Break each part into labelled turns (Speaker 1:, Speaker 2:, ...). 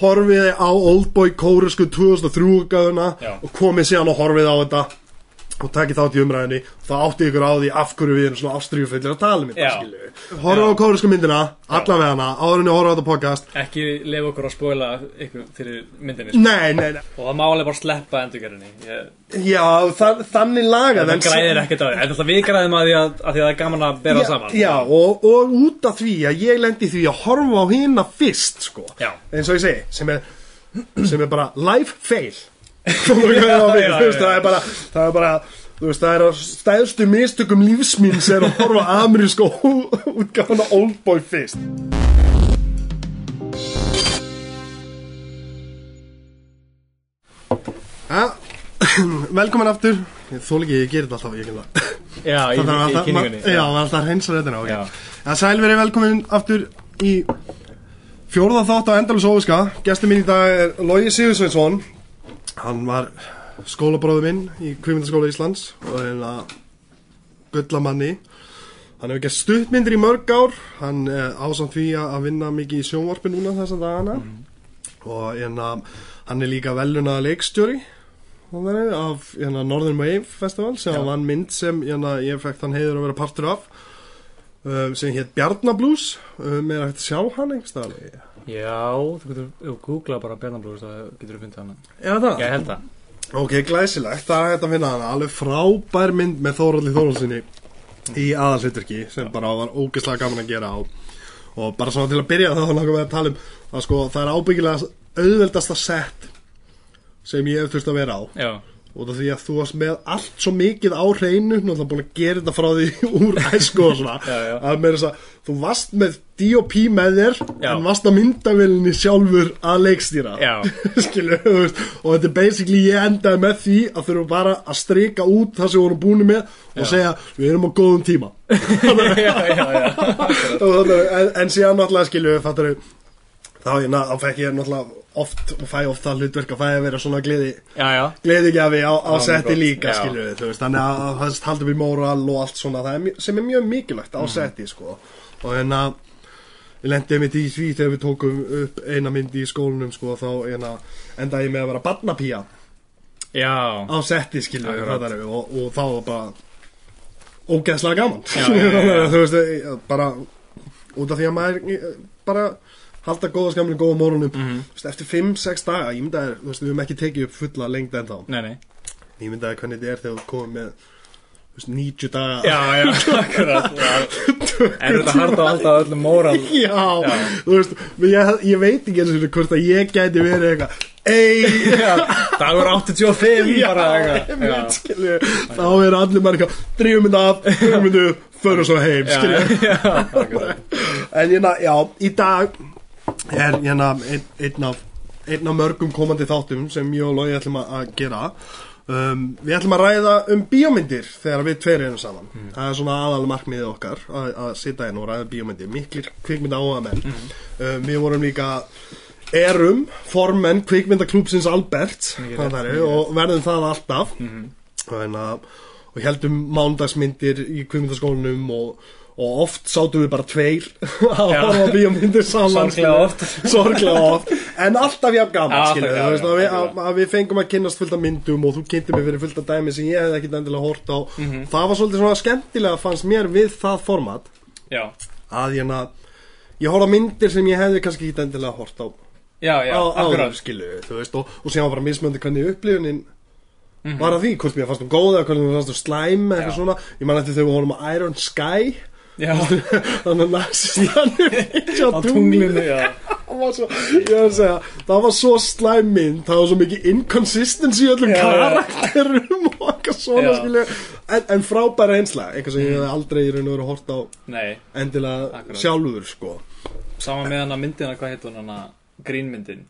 Speaker 1: horfiði á Oldboy kóresku 2003 gæðuna
Speaker 2: Já.
Speaker 1: og komið síðan og horfiði á þetta og takið þátt í umræðinni þá átti ykkur á því af hverju við erum svona ástrífullir að tala um
Speaker 2: Já.
Speaker 1: þetta horfa á kóresku myndina, allavega hana áður en ég horfa á þetta podcast
Speaker 2: Ekki lefa okkur að spóila ykkur fyrir myndinni sko.
Speaker 1: nei, nei, nei,
Speaker 2: Og það má alveg bara sleppa endurgerðinni Ég-
Speaker 1: já, þa þannig laga
Speaker 2: Það græðir ekkert á því En það við græðum að því að, að því að það er gaman að bera
Speaker 1: já,
Speaker 2: saman
Speaker 1: Já, og, og út af því að ég lendi í því að horfa á hina fyrst, sko.
Speaker 2: Já.
Speaker 1: Eins og ég segi, sem er, sem er bara life fail. Þú veist, það
Speaker 2: já,
Speaker 1: er
Speaker 2: já.
Speaker 1: bara, það er bara, þú veist, það er að stæðstu mistökum lífsmín sem er að horfa á amerísku útgáfuna Oldboy fyrst. Ja, Ah, velkomin aftur Ég þól ekki, ég gerir þetta alltaf, ég kemur það
Speaker 2: já í,
Speaker 1: Það þarf
Speaker 2: í, í kynningunni
Speaker 1: alltaf, já, það er alltaf að reynsa röddina,
Speaker 2: Já.
Speaker 1: ok. Það sæl verið velkomin aftur í fjórða þátt á Endalus Óviska. Gestur minn í dag er Logi Sigursveinsson. Hann var skólabróður minn í Kvimindaskóla Íslands og er að gulla manni. Hann hefur gert stuttmyndir í mörg ár. Hann eh, á samt því að að vinna mikið í sjónvarpi núna þessa dagana.
Speaker 2: Mhm.
Speaker 1: Og en, hann er líka velunaða leikstjóri Þannig af hérna, Northern Wave Festival sem
Speaker 2: Já.
Speaker 1: var hann mynd sem hérna, ég fekk þann heiður að vera partur af uh, sem hétt Bjarnablús uh, með að sjá hann einhvers staðar
Speaker 2: Já, þú getur, ef þú googla bara Bjarnablóður Það getur þú fundið hana
Speaker 1: Já það
Speaker 2: Ég held það
Speaker 1: Ok, glæsilegt, það er hægt að finna hann alveg frábær mynd með Þóraldi Þóralsinni í aðalhlutverki sem bara var ógeðslega gaman að gera á og bara svona til að byrja þá langar við að tala um að sko það er ábyggilega auðveldasta set sem ég hef þurft að vera á
Speaker 2: Já
Speaker 1: út af því að þú varst með allt svo mikið á hreinu náttúrulega búin að gera þetta frá því úr æsku og svona
Speaker 2: Já, já.
Speaker 1: að meira þess að þú varst með D.O.P. með þér
Speaker 2: Já.
Speaker 1: en varst á myndavillinni sjálfur að leikstýra
Speaker 2: Já.
Speaker 1: Skilu, þú veist, og þetta er basically ég endaði með því að þurfum bara að strika út það sem við vorum búin með og segja við erum á góðum tíma
Speaker 2: Já, já, já
Speaker 1: Og þannig- en, en síðan náttúrulega skilu fattar við þá, ég, na, þá fekk ég náttúrulega oft og fæ oft það hlutverk að fæ að vera svona gleði
Speaker 2: Já, já
Speaker 1: gleðigjafi á, á
Speaker 2: mjög
Speaker 1: setti
Speaker 2: gott.
Speaker 1: líka
Speaker 2: Já.
Speaker 1: skilur við, þú veist, þannig að- að það haldum við móral og allt svona, það er, mjö- sem er mjög mikilvægt
Speaker 2: Mm.
Speaker 1: á setti, sko, og en að ég lendi mitt í því þegar við tókum upp eina mynd í skólanum, sko, þá en að endaði ég með að vera barnapía
Speaker 2: Já
Speaker 1: á setti, skilur við,
Speaker 2: Akkurat.
Speaker 1: það við, og, og þá var bara ógeðslega gaman,
Speaker 2: Já, já, já, já.
Speaker 1: þú veist, ég- bara út af því að maður eh, bara halda góða skamlinn góða morgun upp mm -hmm. eftir 5-6 daga, ég myndi að þú veist, við höfum ekki tekið upp fulla lengd ennþá
Speaker 2: Nei, nei
Speaker 1: Ég myndi að hvernig þetta er þegar þú komið með þú veist, 90 daga
Speaker 2: Já, já, akkurat já. Er þetta hard að halda á öllum móral
Speaker 1: Já,
Speaker 2: Já.
Speaker 1: þú veist, menn ég, ég veit ekki eins og þetta hvort að ég gæti verið eitthvað Ei,
Speaker 2: Já, dagur 85 bara eitthvað Já.
Speaker 1: einmitt, skilju Þá er allir bara eitthvað, drífum þetta af, drífum þetta upp, förum svo heim,
Speaker 2: Já,
Speaker 1: skilju
Speaker 2: já, akkurat.
Speaker 1: En hérna, já, í dag er hérna ein- einn af, einn af mörgum komandi þáttum sem ég og Lói ætlum að- að gera um, Við ætlum að ræða um bíómyndir þegar við tveir erum saman Það er svona aðal markmiðið okkar að, að sitja inn og ræða bíómyndir Miklir kvikmynda áhuga menn um, Við vorum líka erum formenn kvikmyndaklúpsins Albert
Speaker 2: Mikið
Speaker 1: það
Speaker 2: rétt,
Speaker 1: er,
Speaker 2: mikið
Speaker 1: og verðum það Mm. alltaf og, en að, og heldum mándagsmyndir í kvikmyndaskólanum og, og oft sátum við bara tveir að
Speaker 2: Já.
Speaker 1: horfa á bíómyndir saman
Speaker 2: Sorglega
Speaker 1: skilur.
Speaker 2: oft.
Speaker 1: sorglega oft en alltaf jafn
Speaker 2: Já,
Speaker 1: gaman
Speaker 2: alltaf
Speaker 1: skilur,
Speaker 2: gaman,
Speaker 1: þú veist, að, við, að,
Speaker 2: algjörlega.
Speaker 1: að við fengum að kynnast fullt af myndum og þú kynnti mig fyrir fullt af dæmi sem ég hefði ekkit endilega hort á
Speaker 2: Mhm.
Speaker 1: það var svolítið svona skemmtilega fannst mér við það format
Speaker 2: Já,
Speaker 1: að ég, na, ég horfa á myndir sem ég hefði kannski ekkit endilega hort á
Speaker 2: já, já,
Speaker 1: á, áður
Speaker 2: akkurat
Speaker 1: skilu, þú veist og, og síðan var bara mismöndi hvernig upplifunin var að því, hvort mér fannst þú góð eða hvernig mér fannst þú slæm eða eitthvað
Speaker 2: Já.
Speaker 1: svona ég man eftir þegar við vorum á Iron Sky
Speaker 2: Já,
Speaker 1: þannig að nasist hann
Speaker 2: á tunglinu, já
Speaker 1: það var svo, ég var að segja, það var svo slæm mynd, það var svo mikið inconsistency í öllum
Speaker 2: Já, já.
Speaker 1: karakterum og eitthvað svona
Speaker 2: Já.
Speaker 1: skilu en, en frábæra einsla, eitthvað sem ég hef aldrei í raun og verið að horta á
Speaker 2: Nei,
Speaker 1: endilega
Speaker 2: Akkurat.
Speaker 1: sjálfur sko
Speaker 2: sama með hana myndina, hvað heitir hún hana grínmyndin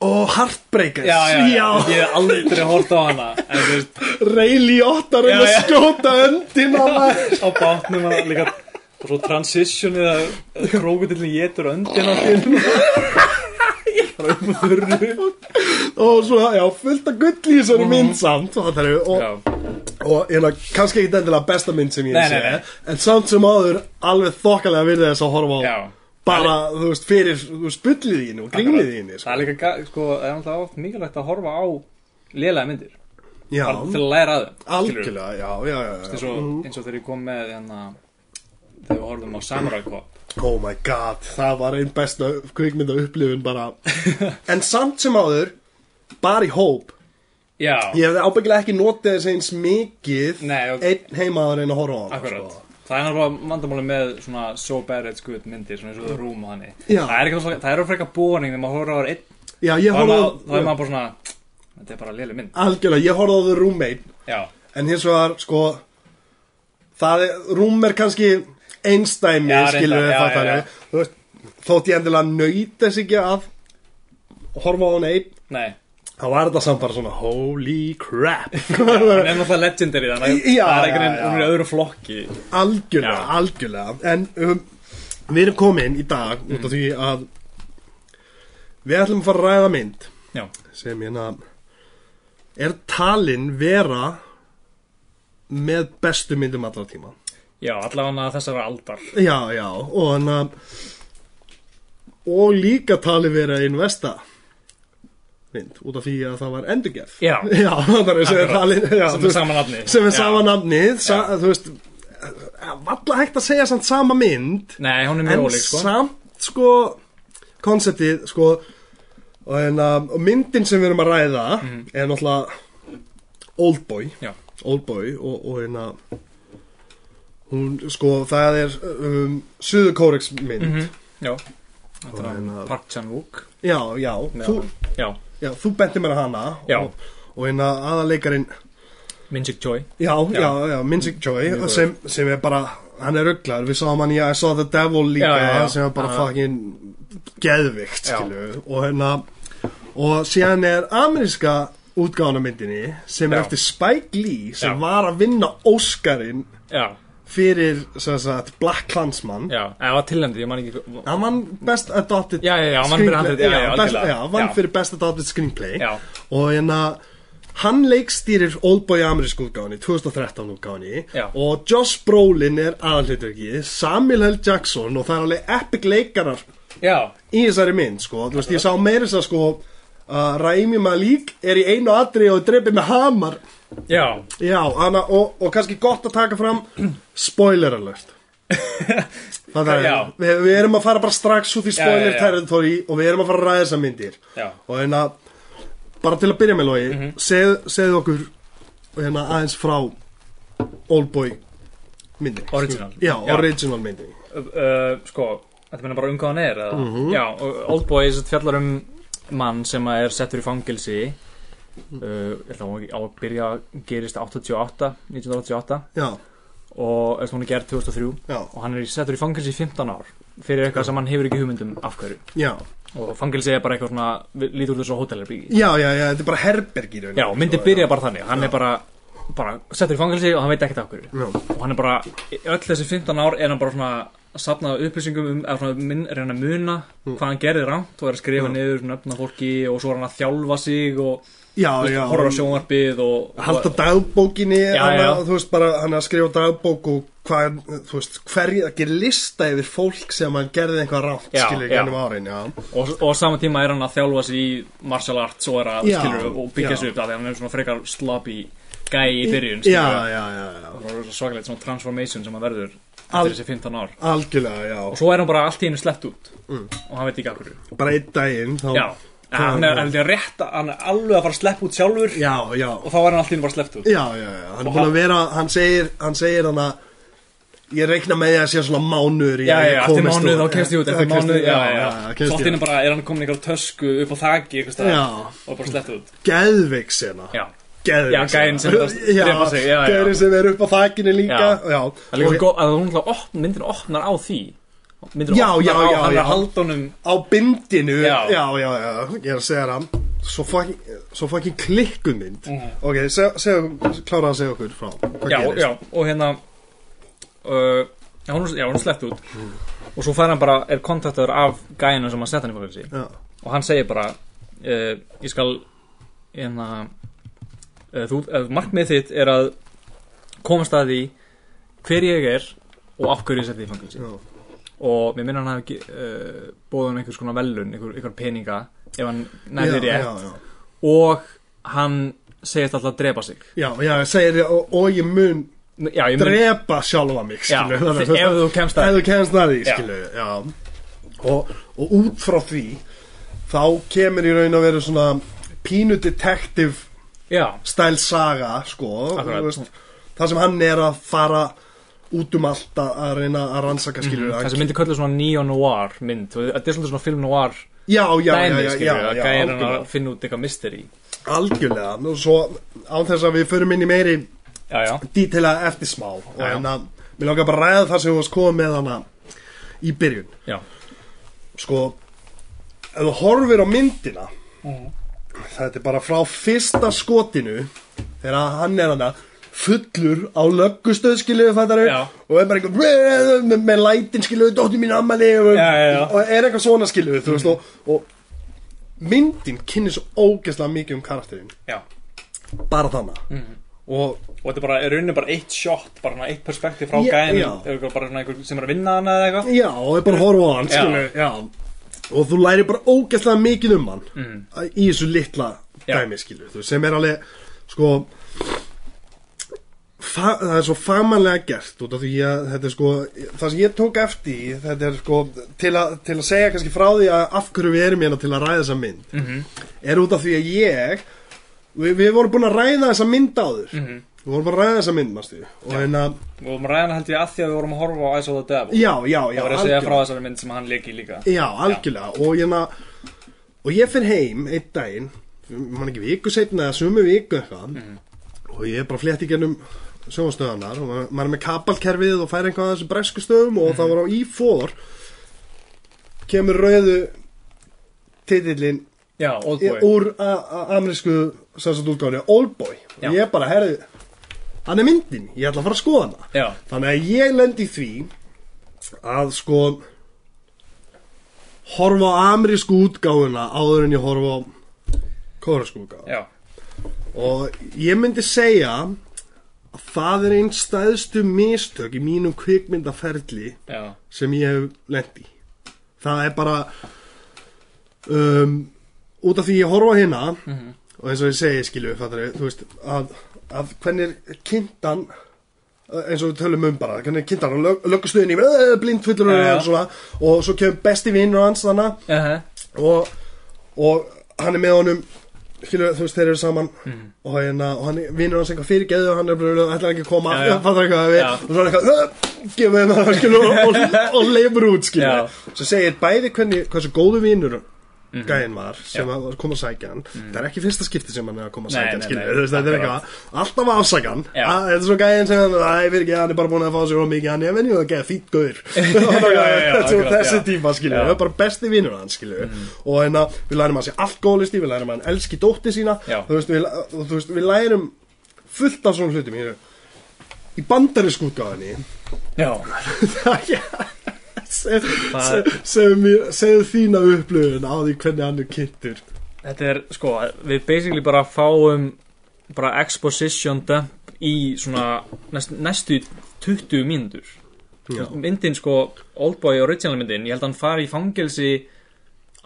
Speaker 1: og Heartbreakers
Speaker 2: Já, já, já, ég hef aldrei hort á hana En þú veist,
Speaker 1: Rayleigh óttar um
Speaker 2: Já,
Speaker 1: að
Speaker 2: já.
Speaker 1: skjóta öndina maður.
Speaker 2: á bátnum að líka Og svo transitionið að að krókudillin getur öndina þinn Bara upp og þurru
Speaker 1: og svona, já, fullt af gull í þessari mynd samt og, það er,
Speaker 2: Mhm. Já,
Speaker 1: og, og hérna, kannski ekki endilega besta mynd sem ég
Speaker 2: Nei,
Speaker 1: sé
Speaker 2: nei, nei.
Speaker 1: en samt sem áður alveg þokkalega virði þess að horfa á
Speaker 2: já,
Speaker 1: bara, þú veist, fyrir þú veist, bullið þínu og kringlið þínu
Speaker 2: Það
Speaker 1: sko.
Speaker 2: er líka, ga- sko, það er alltaf oft mikilvægt að horfa á lélega myndir
Speaker 1: Já,
Speaker 2: bara til að læra að þeim skilurðu.
Speaker 1: algjörlega, já, já, já,
Speaker 2: eins
Speaker 1: já.
Speaker 2: og, eins og þegar ég kom með hérna, þegar við horfum á Samurai Cop
Speaker 1: Oh my god, það var einn besta kvikmynda upplifun bara En samt sem áður, bara í hóp
Speaker 2: Já,
Speaker 1: Ég hefði ábyggilega ekki notið þess eins mikið
Speaker 2: Nei, og-
Speaker 1: Einn heimaður einn að horfa á sko. hann
Speaker 2: akkurat Sko, Það er náttúrulega vandamáli með svona so bad it's good myndir, svona eins og The Room og hannig
Speaker 1: Já.
Speaker 2: Það er ekki rosalega- það er of frekar boring þegar maður horfir á þær einn
Speaker 1: Já, ég
Speaker 2: þá er
Speaker 1: horfði
Speaker 2: maður- þá er
Speaker 1: á
Speaker 2: maður bara svona, þetta er bara lélega mynd
Speaker 1: Algjörlega, ég horfði á The Roommate
Speaker 2: Já,
Speaker 1: En hins vegar, sko Það er, rúm er kannski einstæmi,
Speaker 2: Já, reyndar,
Speaker 1: skilur við
Speaker 2: já,
Speaker 1: það
Speaker 2: já, já.
Speaker 1: þannig Þú veist, Þótt ég endilega nöyt þess ekki að Horfa á hann einn
Speaker 2: nei
Speaker 1: Þá var þetta samt bara svona Holy crap
Speaker 2: Hún er náttúrulega legendary þannig að
Speaker 1: Já,
Speaker 2: það er einhvern
Speaker 1: já,
Speaker 2: veginn
Speaker 1: já.
Speaker 2: hún er í öðru flokki
Speaker 1: Algjörlega,
Speaker 2: Já.
Speaker 1: algjörlega En um, við erum komin í dag Út af því að Við ætlum að fara að ræða mynd
Speaker 2: Já,
Speaker 1: sem hérna er talin vera með bestu myndum allra tíma
Speaker 2: já allavega þessar aldar
Speaker 1: já, já, og hann að og líka talin vera einn vesta mynd, út af því að það var endurgerð
Speaker 2: Já.
Speaker 1: já það er sem er
Speaker 2: Akkurat.
Speaker 1: talin já,
Speaker 2: Sem
Speaker 1: þú
Speaker 2: er
Speaker 1: veist,
Speaker 2: sama nafni.
Speaker 1: sem er
Speaker 2: Já.
Speaker 1: sama nafnið sa, þú veist valla hægt að segja samt sama mynd
Speaker 2: Nei, hún er
Speaker 1: en
Speaker 2: mjög ólík sko
Speaker 1: samt sko konceptið sko og, en, um, og myndin sem við erum að ræða er náttúrulega Oldboy
Speaker 2: Já,
Speaker 1: Oldboy og, og hérna hún sko það er um, Suðurkórex mynd
Speaker 2: já
Speaker 1: Og
Speaker 2: Þetta er hann
Speaker 1: hérna-
Speaker 2: Park Chan-wook
Speaker 1: já, já, þú,
Speaker 2: Já,
Speaker 1: já, þú benti mér að hana
Speaker 2: Já.
Speaker 1: og, og hérna aðaleikarin
Speaker 2: Min Sik Choi
Speaker 1: já, já, já, Minzik Joy sem, sem er bara, hann er rugglar við sáum hann í I Saw the Devil líka
Speaker 2: Já, já, já.
Speaker 1: sem er bara
Speaker 2: Já.
Speaker 1: fucking geðvikt
Speaker 2: Já.
Speaker 1: skilu, og hérna og síðan er ameríska útgáðan á myndinni sem er
Speaker 2: Já.
Speaker 1: eftir Spike Lee sem
Speaker 2: Já.
Speaker 1: var að vinna Óskarinn
Speaker 2: Já,
Speaker 1: fyrir sem sagt, Black Klansman
Speaker 2: já, eða var tilnæmdur, ég man ekki
Speaker 1: hann vann Best Adopted
Speaker 2: Já, já, já, hann vann fyrir handrit, já, já,
Speaker 1: já, best,
Speaker 2: algjörlega.
Speaker 1: já, vann
Speaker 2: Já.
Speaker 1: fyrir Best Adopted Screenplay
Speaker 2: Já.
Speaker 1: og hérna hann leikstýrir Oldboy amerísku útgáðunni 2013 útgáðunni
Speaker 2: Já.
Speaker 1: og Josh Brolin er aðalhlutverki Samuel L. Jackson og það er alveg epic leikarar
Speaker 2: Já,
Speaker 1: í þessari mynd sko, þú veist, ég sá meira þess að sko að Raimi Malík er í einu atri og dreipið með hamar
Speaker 2: já
Speaker 1: Já, hana, og, og kannski gott að taka fram spoiler alert Það er,
Speaker 2: Já.
Speaker 1: við, við erum að fara bara strax út í
Speaker 2: Já, já, já.
Speaker 1: spoiler territory og við erum að fara að ræða þessar myndir
Speaker 2: Já.
Speaker 1: og hérna, bara til að byrja með logi, mm
Speaker 2: Mhm.
Speaker 1: segð, segðu okkur hérna, aðeins frá Oldboy myndinni sko.
Speaker 2: Original.
Speaker 1: Já,
Speaker 2: Já.
Speaker 1: original myndinni
Speaker 2: uh, sko, þetta meina bara umgáðan er eða? Já, og Oldboy sem sagt fjallar um mann sem að er settur í fangilsi uh, ég ætla að- á að byrja gerist 88, 1988
Speaker 1: Já,
Speaker 2: og eftir hún er gerð 2003
Speaker 1: já,
Speaker 2: og hann er settur í fangilsi í 15 ár fyrir eitthvað sem hann hefur ekki hugmyndum af hverju
Speaker 1: já
Speaker 2: og fangilsi er bara eitthvað svona við- lítur út þessu hótelherbyggi
Speaker 1: Já, já, já, þetta er bara herbergi í rauninni,
Speaker 2: Já, myndi
Speaker 1: sko,
Speaker 2: byrja bara þannig, hann er bara, bara settur í fangilsi og hann veit ekkert af hverju
Speaker 1: Já,
Speaker 2: og hann er bara, öll þessi 15 ár er hann bara svona að safna upplýsingum um, eða svona minn, reyna að muna
Speaker 1: Mm.
Speaker 2: hvað hann gerði rámt og er að skrifa niður nöfna fólki og svo er hann að þjálfa sig og
Speaker 1: já,
Speaker 2: þú veist,
Speaker 1: já
Speaker 2: horfa á sjónvarpið og
Speaker 1: halda dagbókinni
Speaker 2: Já,
Speaker 1: hann,
Speaker 2: já.
Speaker 1: að, þú veist bara hann að skrifa dagbók og hvað, þú veist, hverja að gera lista yfir fólk sem hann gerði einhvað rátt
Speaker 2: Já,
Speaker 1: skilur
Speaker 2: já.
Speaker 1: ekki ennum árin, já
Speaker 2: og, og á sama tíma er hann að þjálfa sig í martial arts og er að
Speaker 1: Já,
Speaker 2: skilur og
Speaker 1: já.
Speaker 2: byggja sig upp það því hann er svona frekar sloppy gæi í byrjun
Speaker 1: já,
Speaker 2: skilurðu.
Speaker 1: já, já, já,
Speaker 2: og það er svakalegt svona transformation sem hann verður
Speaker 1: Al-
Speaker 2: eftir þessi 15 ár
Speaker 1: algjörlega, já
Speaker 2: og svo er hann bara allt í hennu sleppt út
Speaker 1: Mm.
Speaker 2: og hann veit ekki af hverju
Speaker 1: bara einn daginn þá,
Speaker 2: Já, hann er, hann er rétt að- hann er alveg að fara að sleppa út sjálfur
Speaker 1: já, já,
Speaker 2: og þá var hann alltaf bara sleppt út
Speaker 1: já, já, já hann er búin að vera, hann segir hann segir hann að ég reikna með því að sé svona mánuður
Speaker 2: já, já, eftir mánuð, þá kemst ég út eftir mánuð, já, já, já,
Speaker 1: kemst
Speaker 2: svo
Speaker 1: ég
Speaker 2: allt innan
Speaker 1: út.
Speaker 2: bara er hann komin í einhver tösku upp á þaki einhvers staðar
Speaker 1: Já.
Speaker 2: og bara sleppt út
Speaker 1: geðveik sena
Speaker 2: já,
Speaker 1: Geðveik
Speaker 2: Já, gæinn sem er að
Speaker 1: sena.
Speaker 2: drepa sig, já, já.
Speaker 1: gæðin sem er upp á þakinu líka
Speaker 2: Já.
Speaker 1: já,
Speaker 2: það er líka
Speaker 1: Og-
Speaker 2: svo góð að hún hlá opn, myndin opnar á því myndin
Speaker 1: Já,
Speaker 2: opnar
Speaker 1: já,
Speaker 2: á,
Speaker 1: já,
Speaker 2: hann er
Speaker 1: já.
Speaker 2: að halda honum
Speaker 1: á bindinu
Speaker 2: Já.
Speaker 1: já, já, já, ég er að segja það svo fucking, svo fucking klikkumynd
Speaker 2: Mhm.
Speaker 1: mm. ok, seg, seg, klára að segja okkur frá hvað
Speaker 2: já,
Speaker 1: gerist.
Speaker 2: já, og hérna uh, já, hún, já, hún er sleppt út og svo fær hann bara, er kontaktaður af gæinu sem að setja hann í fangelsi
Speaker 1: Já.
Speaker 2: og hann segir bara uh, ég skal hérna uh, þú, uh, markmið þitt er að komast að því hver ég er og af hverju ég seti í fangelsi
Speaker 1: Já.
Speaker 2: og mér minna hann hafi uh, bóðið hann einhvers konar velun, einhver, einhver peninga ef hann
Speaker 1: já,
Speaker 2: nærði rétt
Speaker 1: já,
Speaker 2: og hann segist alltaf að drepa sig
Speaker 1: já, já, já, segir ég og, og ég mun
Speaker 2: já, ég mun,
Speaker 1: drepa sjálfa mig
Speaker 2: já,
Speaker 1: skilu,
Speaker 2: ef þú kemst að
Speaker 1: ef þú kemst að því
Speaker 2: Já.
Speaker 1: skilu, já. Og, og út frá því þá kemur í raun að vera svona pínu detective
Speaker 2: já,
Speaker 1: stæl saga sko,
Speaker 2: Akkurat.
Speaker 1: þú það sem hann er að fara út um allt að, að reyna að rannsaka skilur
Speaker 2: það Mhm, sem myndi köllu svona neo-noir mynd, þú- þetta er svolítið svona film-noir
Speaker 1: já, já, já,
Speaker 2: dæmi,
Speaker 1: já, já,
Speaker 2: skilur, að
Speaker 1: já,
Speaker 2: gæra hann að
Speaker 1: algjörlega,
Speaker 2: finna út eitthvað mystery
Speaker 1: algjörlega. Nú, svo án þess að við förum inn í meiri
Speaker 2: já, já,
Speaker 1: dítila eftir smá og
Speaker 2: Já, já.
Speaker 1: hérna, mér langar bara að ræða það sem þú varst komið með hana í byrjun
Speaker 2: já,
Speaker 1: sko, ef þú horfir á myndina
Speaker 2: Mm.
Speaker 1: þetta er bara frá fyrsta skotinu þegar hann er hana fullur á löggustöð skiluðu fættaru
Speaker 2: Já.
Speaker 1: og er bara eitthvað með, með lætin skiluðu, dóttir mín ammali og,
Speaker 2: Já, já, já. Mm.
Speaker 1: og er eitthvað svona skiluðu þú veist og, og myndin kynni svo ógeðslega mikið um karakterinn
Speaker 2: já
Speaker 1: bara
Speaker 2: Mm.
Speaker 1: þannig og
Speaker 2: og þetta er bara, er rauninni bara eitt shot bara svona eitt perspektíf frá
Speaker 1: Já,
Speaker 2: gæðin
Speaker 1: já.
Speaker 2: eða bara svona einhver sem er að vinna hana eða eitthvað
Speaker 1: Já, og er bara að horfa á hann
Speaker 2: Já.
Speaker 1: skilu, já. Og þú læri bara ógæslega mikið um hann Í þessu litla
Speaker 2: Mm. Já.
Speaker 1: dæmi skilu þú, Sem er alveg sko, fa, Það er svo fagmannlega gert út af því að þetta er sko Það sem ég tók eftir í, Þetta er sko til, a, til að segja kannski frá því að Af hverju við erum hérna til að ræða þessa mynd
Speaker 2: Mhm.
Speaker 1: Er út af því að ég Við, við vorum búin að ræða þessa mynd áður
Speaker 2: Mhm.
Speaker 1: Við vorum bara að ræða þessa mynd, mástu Og hérna,
Speaker 2: og við vorum að ræðan held ég að því að við vorum að horfa á Eyes of the Devil
Speaker 1: já, já, já
Speaker 2: það var að segja
Speaker 1: algjörlega.
Speaker 2: frá þessari mynd sem hann leik í líka
Speaker 1: Já, algjörlega og, hérna, og ég fyrir heim einn daginn mann ekki viku setna eða sumu viku eitthvað og ég er bara flett í gennum sjónastöðanar og maður- maður er með kapalkerfið og fær einhvað að þessu bresku stöðum og það var á Ífór kemur rauðu titillin
Speaker 2: já,
Speaker 1: Oldboy.
Speaker 2: Oldboy
Speaker 1: úr a- a- amerísku sérstætt útgáðinu Oldboy
Speaker 2: Já.
Speaker 1: og ég bara herði hann er myndin, ég ætla að fara að skoða hana
Speaker 2: já,
Speaker 1: Þannig að ég lendi því að sko horfa á amerísku útgáfuna áður en ég horfa á kóresku útgáfuna.
Speaker 2: já,
Speaker 1: Og ég myndi segja að það er einn stæðstu mistök í mínum kvikmyndaferli
Speaker 2: já
Speaker 1: sem ég hef lent í það er bara um, út af því ég horfa á hérna
Speaker 2: Mhm.
Speaker 1: og eins og ég segi skilu fattari, þú veist að, að hvernig kynntan eins og við tölum um bara hvernig kynntan og lög, löggustuðin í "Ö, blindfullur
Speaker 2: Já, já.
Speaker 1: og, svona, og svo kemur besti vinnur hans þannig
Speaker 2: Aha.
Speaker 1: og, og hann er með honum skilur, þú veist, þeir eru saman og, hérna, og hann vinnur hans eitthvað fyrir geðu og hann er bara, ætlar ekki að koma
Speaker 2: Já, já.
Speaker 1: hann fattar eitthvað að við
Speaker 2: Já.
Speaker 1: og svo er eitthvað, "Ö, gefum við það skilur, og, og leifur út
Speaker 2: Já. Mhm.
Speaker 1: skilur. svo segir bæði hvernig, hversu góðu vinnur gæinn var sem
Speaker 2: Já. Mhm.
Speaker 1: að kom að sækja hann það er ekki fyrsta skipti sem hann er að koma að
Speaker 2: Nei,
Speaker 1: sækja hann
Speaker 2: nei,
Speaker 1: skilur,
Speaker 2: nei,
Speaker 1: þú veist, þetta er
Speaker 2: akkurat.
Speaker 1: eitthvað alltaf að afsaka hann
Speaker 2: Já.
Speaker 1: Að- þetta er svo gæinn sem hann, æ, fyrir ekki, hann er bara búin að fá sér of mikið, hann er venju að geða fýtt gaur
Speaker 2: já, já,
Speaker 1: Svo
Speaker 2: akkurat,
Speaker 1: þessi
Speaker 2: já.
Speaker 1: tíma skilur,
Speaker 2: Já.
Speaker 1: það er bara besti vinnur hann skilur
Speaker 2: Mm.
Speaker 1: og hérna, við lærum hann sé alkoholisti við lærum hann elski dótti sína
Speaker 2: Já.
Speaker 1: þú veist, við, og þú veist, við lærum fullt af svona hlutum hérna. í bandarísku útgáðinni
Speaker 2: já, Það-
Speaker 1: segðu þína upplöfun á því hvernig hann er kynntur
Speaker 2: þetta er, sko, við basically bara fáum bara exposition dump í svona næst, næstu 20 mínútur
Speaker 1: Já.
Speaker 2: myndin, sko, Oldboy original myndin, ég held að hann fari í fangelsi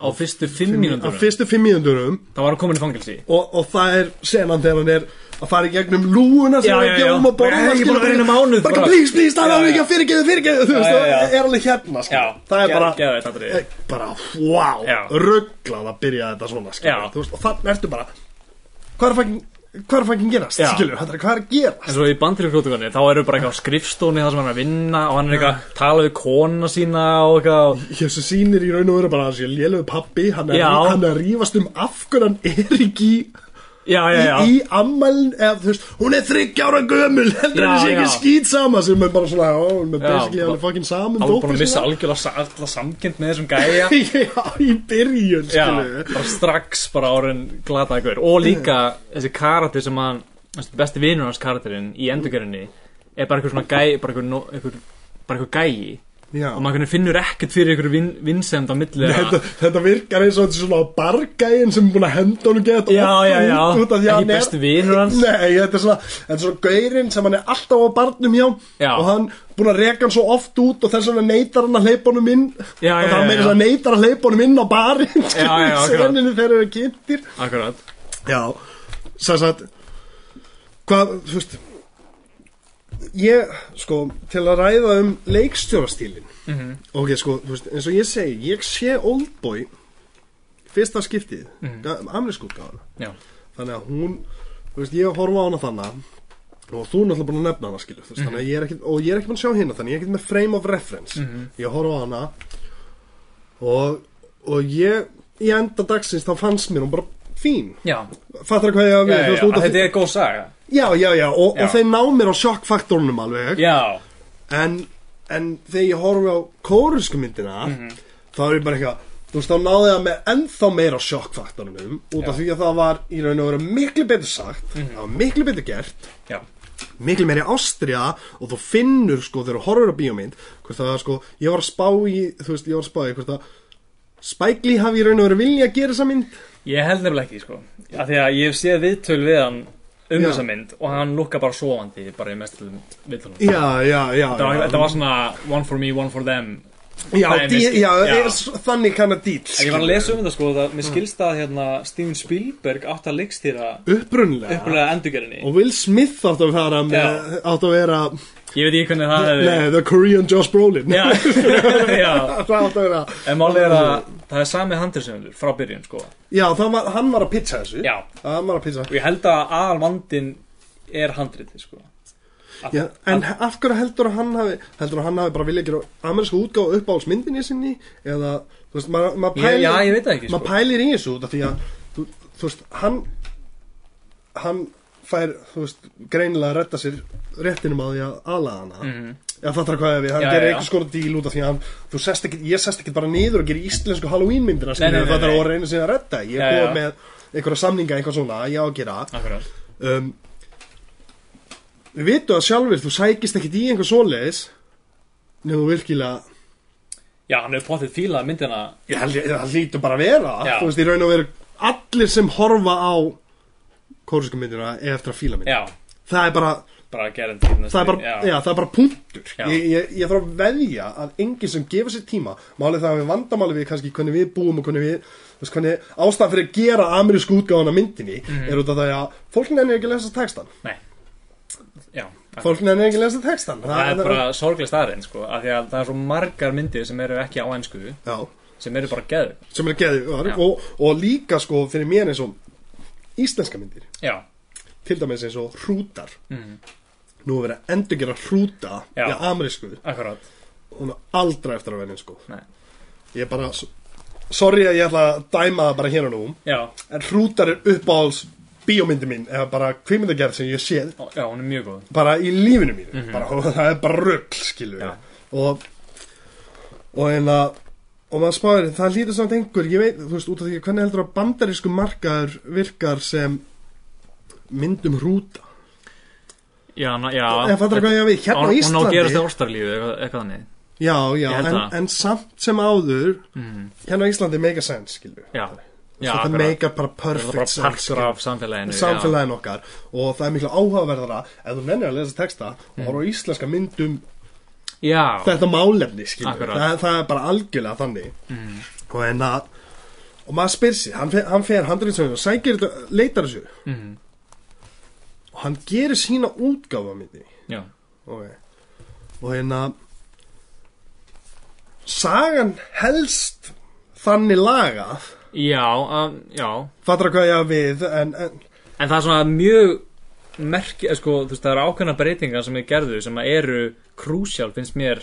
Speaker 2: á fyrstu 5 mínútur
Speaker 1: af fyrstu fimm mínúndurum
Speaker 2: þá var hann komin í fangelsi
Speaker 1: og, og það er senan þegar hann er að fara í gegnum lúuna sem
Speaker 2: Já,
Speaker 1: hann er að
Speaker 2: já,
Speaker 1: gefa
Speaker 2: já.
Speaker 1: um að borða
Speaker 2: Ég er ekki
Speaker 1: skilur,
Speaker 2: búin að vera í einu mánuð
Speaker 1: bara
Speaker 2: bara.
Speaker 1: please, please, það
Speaker 2: Já,
Speaker 1: er
Speaker 2: já.
Speaker 1: ekki að fyrirgeðu, fyrirgeðu þú veist,
Speaker 2: já, já.
Speaker 1: það er alveg hérna skilur.
Speaker 2: Já,
Speaker 1: það er
Speaker 2: geð-
Speaker 1: bara
Speaker 2: geðveikt atriði.
Speaker 1: eh, bara, wow,
Speaker 2: Já.
Speaker 1: rugglað að byrja þetta svona skilur,
Speaker 2: Já.
Speaker 1: þú veist, og þannig ertu bara hvað er fækin hvað er fækin gerast,
Speaker 2: Já.
Speaker 1: skilur, þetta er hvað er að gerast
Speaker 2: En svo í bandrýrfljótugunni, þá eru bara eitthvað á skrifstóni það sem hann er að vinna og hann er eitthvað að tala við kona sína og eitthvað
Speaker 1: þessu sýnir í raun og veru bara að þessi lélögu pappi hann er,
Speaker 2: Já.
Speaker 1: hann er að rífast um af hverju hann er ekki í
Speaker 2: Já, já, já,
Speaker 1: í, í ammælin eða þú veist, hún er 30 ára gömul heldur
Speaker 2: Já,
Speaker 1: henni sé ekki
Speaker 2: já.
Speaker 1: skýt sama sem er bara svona, ó, hún er
Speaker 2: Já,
Speaker 1: basically
Speaker 2: bara-
Speaker 1: alveg fucking saman
Speaker 2: hann er búin að missa algjörlega sa- alla samkend með þessum gæja
Speaker 1: Já, í byrjun,
Speaker 2: Já,
Speaker 1: skilu
Speaker 2: bara strax bara árin glataði gaur og líka þessi karatir sem hann, þessi besti vinur hans karatirinn í endurgerðinni er bara eitthvað svona gæi, bara eitthvað, no- eitthvað, bara eitthvað gæi
Speaker 1: Já.
Speaker 2: og maður finnur ekkert fyrir einhverju vin, vinsend á milli
Speaker 1: Þetta, þetta virkar eins og þetta er svona bargæin sem er búin að henda honum gett
Speaker 2: já, já, já,
Speaker 1: út, út af því að
Speaker 2: ekki
Speaker 1: hann er
Speaker 2: besti vinur hans
Speaker 1: Nei, þetta er svona, þetta er svona gaurinn sem hann er alltaf á barnum hjá
Speaker 2: Já.
Speaker 1: og hann búin að reka hann svo oft út og þess vegna neytar hann að hleypa honum inn
Speaker 2: Já,
Speaker 1: og
Speaker 2: já,
Speaker 1: það
Speaker 2: já,
Speaker 1: meira
Speaker 2: já.
Speaker 1: þess að neytar að hleypa honum inn á barinn
Speaker 2: Já, já, akkurat.
Speaker 1: seninu þegar þeir eru kynntir
Speaker 2: akkurat,
Speaker 1: Já, sem sagt hvað, þú veist ég, sko, til að ræða um leikstjórastílin -hmm. ok, sko, þú veist, eins og ég segi ég sé Oldboy fyrsta skiptið, mm -hmm. amniskútgáðana
Speaker 2: já,
Speaker 1: þannig að hún þú veist, ég horfa á hana þannig og þú er náttúrulega búin að nefna hana skilu mm -hmm. ég er ekkit, og ég er ekkert búin að sjá hérna þannig ég er ekkert með frame of reference ég horfa á hana og, og ég í enda dagsins þá fannst mér hún bara fín
Speaker 2: já,
Speaker 1: fattar hvað ég að
Speaker 2: já,
Speaker 1: við þú
Speaker 2: já, já.
Speaker 1: veist, út af
Speaker 2: þetta
Speaker 1: því-
Speaker 2: er góð saga
Speaker 1: já, já, já, og,
Speaker 2: Já.
Speaker 1: og þeir ná mér á sjokkfaktorunum alveg
Speaker 2: já,
Speaker 1: en, en þegar ég horfi á kórusku myndina
Speaker 2: Mhm.
Speaker 1: þá er ég bara eitthvað þú veist, þá náði það með ennþá meira sjokkfaktorunum út af
Speaker 2: Já. Mhm.
Speaker 1: því að það var í raun og veru miklu betur sagt það var miklu betur gert
Speaker 2: já,
Speaker 1: miklu meiri ástriða og þú finnur sko þegar þú horfur á bíómynd hvort það sko, ég var að spá í þú veist, ég var að spá í hvort að Spike Lee hafi í raun og verið vilja að gera þessa mynd
Speaker 2: ég held nefnilega ekki sko, af því að ég hef séð viðtöl við hann um
Speaker 1: Já.
Speaker 2: þessa mynd og hann lukka bara sofandi bara í mestum viðtölum
Speaker 1: já, já, já
Speaker 2: þetta var,
Speaker 1: já,
Speaker 2: þetta var svona one for me, one for them
Speaker 1: já,
Speaker 2: Nei,
Speaker 1: dí,
Speaker 2: miski-
Speaker 1: já,
Speaker 2: já.
Speaker 1: Er, s- þannig kann að dýl
Speaker 2: En ég var að lesa um þetta sko það, Mér skilst að hérna, Steven Spielberg átt að leikstýra
Speaker 1: upprunlega,
Speaker 2: upplega endurgerinni
Speaker 1: og Will Smith átt að fara með,
Speaker 2: Já.
Speaker 1: átt að vera
Speaker 2: Ég veit ekki hvernig það hefði
Speaker 1: nei, the Korean Josh Brolin
Speaker 2: Já, já
Speaker 1: það átt að vera
Speaker 2: En málið er að það er sami handriðsöndur frá byrjun sko Og
Speaker 1: já, það var, hann var að pitcha þessu
Speaker 2: Já.
Speaker 1: hann var að pitcha
Speaker 2: ég held að aðal vandin er handriði sko Að-
Speaker 1: Já, en af hverju heldur að hann hafi heldur að hann hafi bara vilja gera amerísku útgáð upp á alls myndinni sinni eða, þú veist, maður ma
Speaker 2: Ég-
Speaker 1: pælir
Speaker 2: já, ég veit það ekki, sko.
Speaker 1: maður pælir í þessu út af því að þú, þú veist, hann hann fær, þú veist, greinilega að retta sér réttinum að því að alaða hana
Speaker 2: Mhm.
Speaker 1: Já, fattar hvað ég við, hann
Speaker 2: Já,
Speaker 1: gerir
Speaker 2: já, já.
Speaker 1: einhvers konar díl út af því að hann, þú sest ekki, ég sest ekki bara niður og gerir íslensku Halloween myndina,
Speaker 2: Nei, nei,
Speaker 1: skilur
Speaker 2: nei,
Speaker 1: fattar
Speaker 2: nei.
Speaker 1: og reynir sér að retta, ég
Speaker 2: Já,
Speaker 1: er
Speaker 2: já.
Speaker 1: búið með einhverja samninga, einhvað svona, ég á að gera
Speaker 2: Akkurat
Speaker 1: um, Við vitum að sjálfur þú sækist ekkit í einhver svoleiðis nefnum þú virkilega
Speaker 2: Já, hann hefur pottið fílað myndina
Speaker 1: ég, held ég- það hlýtur bara að vera
Speaker 2: Já.
Speaker 1: þú veist, í raun og veru allir sem horfa á kórusku myndina er eftir að fíla mynd
Speaker 2: Já,
Speaker 1: það er bara,
Speaker 2: bara gerandi
Speaker 1: það er bara, já. það er bara punktur
Speaker 2: Já.
Speaker 1: ég, ég, ég þarf að veðja að enginn sem gefur sér tíma málið það að við vandamáli við kannski hvernig við búum og hvernig við þú veist, hvernig ástæðan fyrir að gera amerísku útgáðan af myndinni
Speaker 2: Mhm.
Speaker 1: er út af það að fólk nefnir ekki að lesa textan
Speaker 2: Nei Já, akkurat.
Speaker 1: fólk nefnir ekki að lesa textan
Speaker 2: það er bara sorglega staðrein sko af Því að það er svo margar myndir sem eru ekki á ennsku
Speaker 1: já
Speaker 2: sem eru bara geðu
Speaker 1: sem er geðið
Speaker 2: Já.
Speaker 1: og, og líka sko fyrir mér eins og íslenska myndir
Speaker 2: Já,
Speaker 1: til dæmis eins og hrútar nú er verið að endur gera hrúta
Speaker 2: Mhm. Já.
Speaker 1: í amerísku
Speaker 2: akkurat
Speaker 1: hún er aldrei eftir að venja sko
Speaker 2: Nei.
Speaker 1: ég er bara sorry að ég ætla að dæma það bara hér og nú
Speaker 2: Já,
Speaker 1: en hrútar er uppáhalds bíómyndi mín eða bara kvímyndagerð sem ég hef séð
Speaker 2: já, hún er mjög góð
Speaker 1: bara í lífinu mínu bara, og það er bara rögl skilur við.
Speaker 2: Mhm. Já.
Speaker 1: og og en að og maður spáir, það hlýtur samt einhver ég veit, þú veist, út af því hvernig heldur að bandarísku markaður virkar sem myndum hrúta
Speaker 2: Já, na, já
Speaker 1: eða fattar hvað ég á við, hérna á
Speaker 2: Hún á að
Speaker 1: Íslandi
Speaker 2: gerast í ástarlífi, eitthvað, eitthvað þannig
Speaker 1: já, já,
Speaker 2: Ég held
Speaker 1: en,
Speaker 2: það.
Speaker 1: en samt sem áður hérna á Íslandi make a sense, skilur við.
Speaker 2: Já, já,
Speaker 1: þetta
Speaker 2: akkurat.
Speaker 1: make a bara
Speaker 2: Það er
Speaker 1: perfect
Speaker 2: bara
Speaker 1: sense
Speaker 2: partur
Speaker 1: skilur við.
Speaker 2: af samfélaginu
Speaker 1: samfélagin okkar og það er miklu áhugaverðara ef þú nennir að lesa texta
Speaker 2: Mhm.
Speaker 1: og horfa á íslenska myndum
Speaker 2: Já, já,
Speaker 1: þetta málefni skilur
Speaker 2: Akkurat.
Speaker 1: það,
Speaker 2: Mm.
Speaker 1: það er bara algjörlega þannig og en að og maður spyr sér, hann, fer- hann fer handrinsöðun og sækir þetta, leitar þessu
Speaker 2: Mm.
Speaker 1: og hann gerir sína útgáfa myndi
Speaker 2: já,
Speaker 1: okay. og en að sagan helst þannig lagað
Speaker 2: já, um, já
Speaker 1: fattar hvað ég að við en, en
Speaker 2: En það er svona mjög merki, eh, sko, þú veist, það eru ákveðna breytingar sem ég gerðu sem að eru krúsjál finnst mér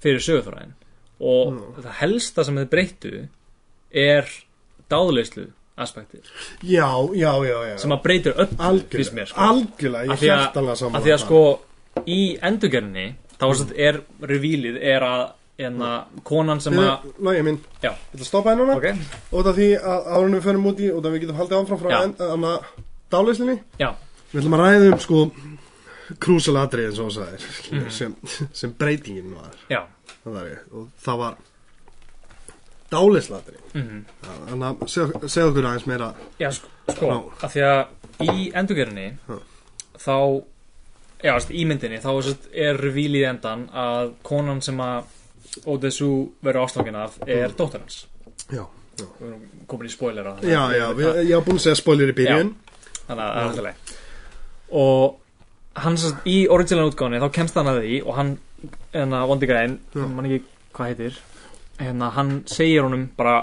Speaker 2: fyrir sögufræðin og það helsta sem þið breyttu er dáðleyslu aspektir
Speaker 1: já, já, já, já
Speaker 2: sem að breytir öll finnst
Speaker 1: algjörlega,
Speaker 2: mér sko.
Speaker 1: algjörlega,
Speaker 2: Af
Speaker 1: ég
Speaker 2: því að-
Speaker 1: hjartanlega saman
Speaker 2: af því að sko í endurgerðinni þá mm. er revílið er að en að konan sem að
Speaker 1: Lógi minn,
Speaker 2: já,
Speaker 1: ég ætla að stoppa henni núna
Speaker 2: ok,
Speaker 1: út af því að árunum við förum út í út af við getum haldið áfram frá
Speaker 2: Já.
Speaker 1: en- anna dálislinni
Speaker 2: já,
Speaker 1: við ætlum að ræða um sko krúsalatri eins og það sagðir
Speaker 2: Mm.
Speaker 1: sem, sem breytingin var
Speaker 2: já,
Speaker 1: það var, ég. og það var dálislatri
Speaker 2: mhm.
Speaker 1: þannig að segja seg okkur aðeins meira
Speaker 2: já sko, sko
Speaker 1: Já.
Speaker 2: af því að í endurgerinni
Speaker 1: Já.
Speaker 2: þá já, sest, í myndinni þá sest, er revílið endan að konan sem að Odessu verður ástofkin af
Speaker 1: Mm.
Speaker 2: er dóttir hans
Speaker 1: já, já,
Speaker 2: Við erum komin í spoiler á
Speaker 1: já, já við, ég hafa búin að segja spoiler í byrjun
Speaker 2: þannig að það er alltaf leið og hann sem sagt, í original útgáðinni þá kemst hann að því og hann, hérna, vondi græn
Speaker 1: Já.
Speaker 2: mann ekki hvað heitir hérna, hann segir honum bara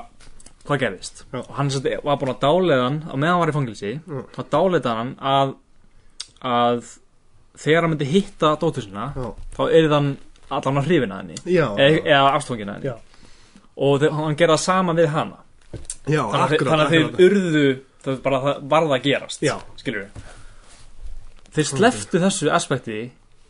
Speaker 2: hvað gerðist
Speaker 1: Já.
Speaker 2: og hann sem sagt, var búin að dáleiða hann og meðan hann var í fangilsi
Speaker 1: Já.
Speaker 2: þá dáleiða hann að að þegar hann myndi hitta dóttur sinna
Speaker 1: já,
Speaker 2: þá er hann allan að hrifina henni
Speaker 1: já,
Speaker 2: e eða afstofngina henni
Speaker 1: Já.
Speaker 2: og þe- hann gerða sama við hana
Speaker 1: já
Speaker 2: þannig,
Speaker 1: akkurat,
Speaker 2: akkurat, þannig að þeir
Speaker 1: akkurat.
Speaker 2: urðu það bara það varð að gerast
Speaker 1: Já.
Speaker 2: skilur við þeir sleftu þessu aspekti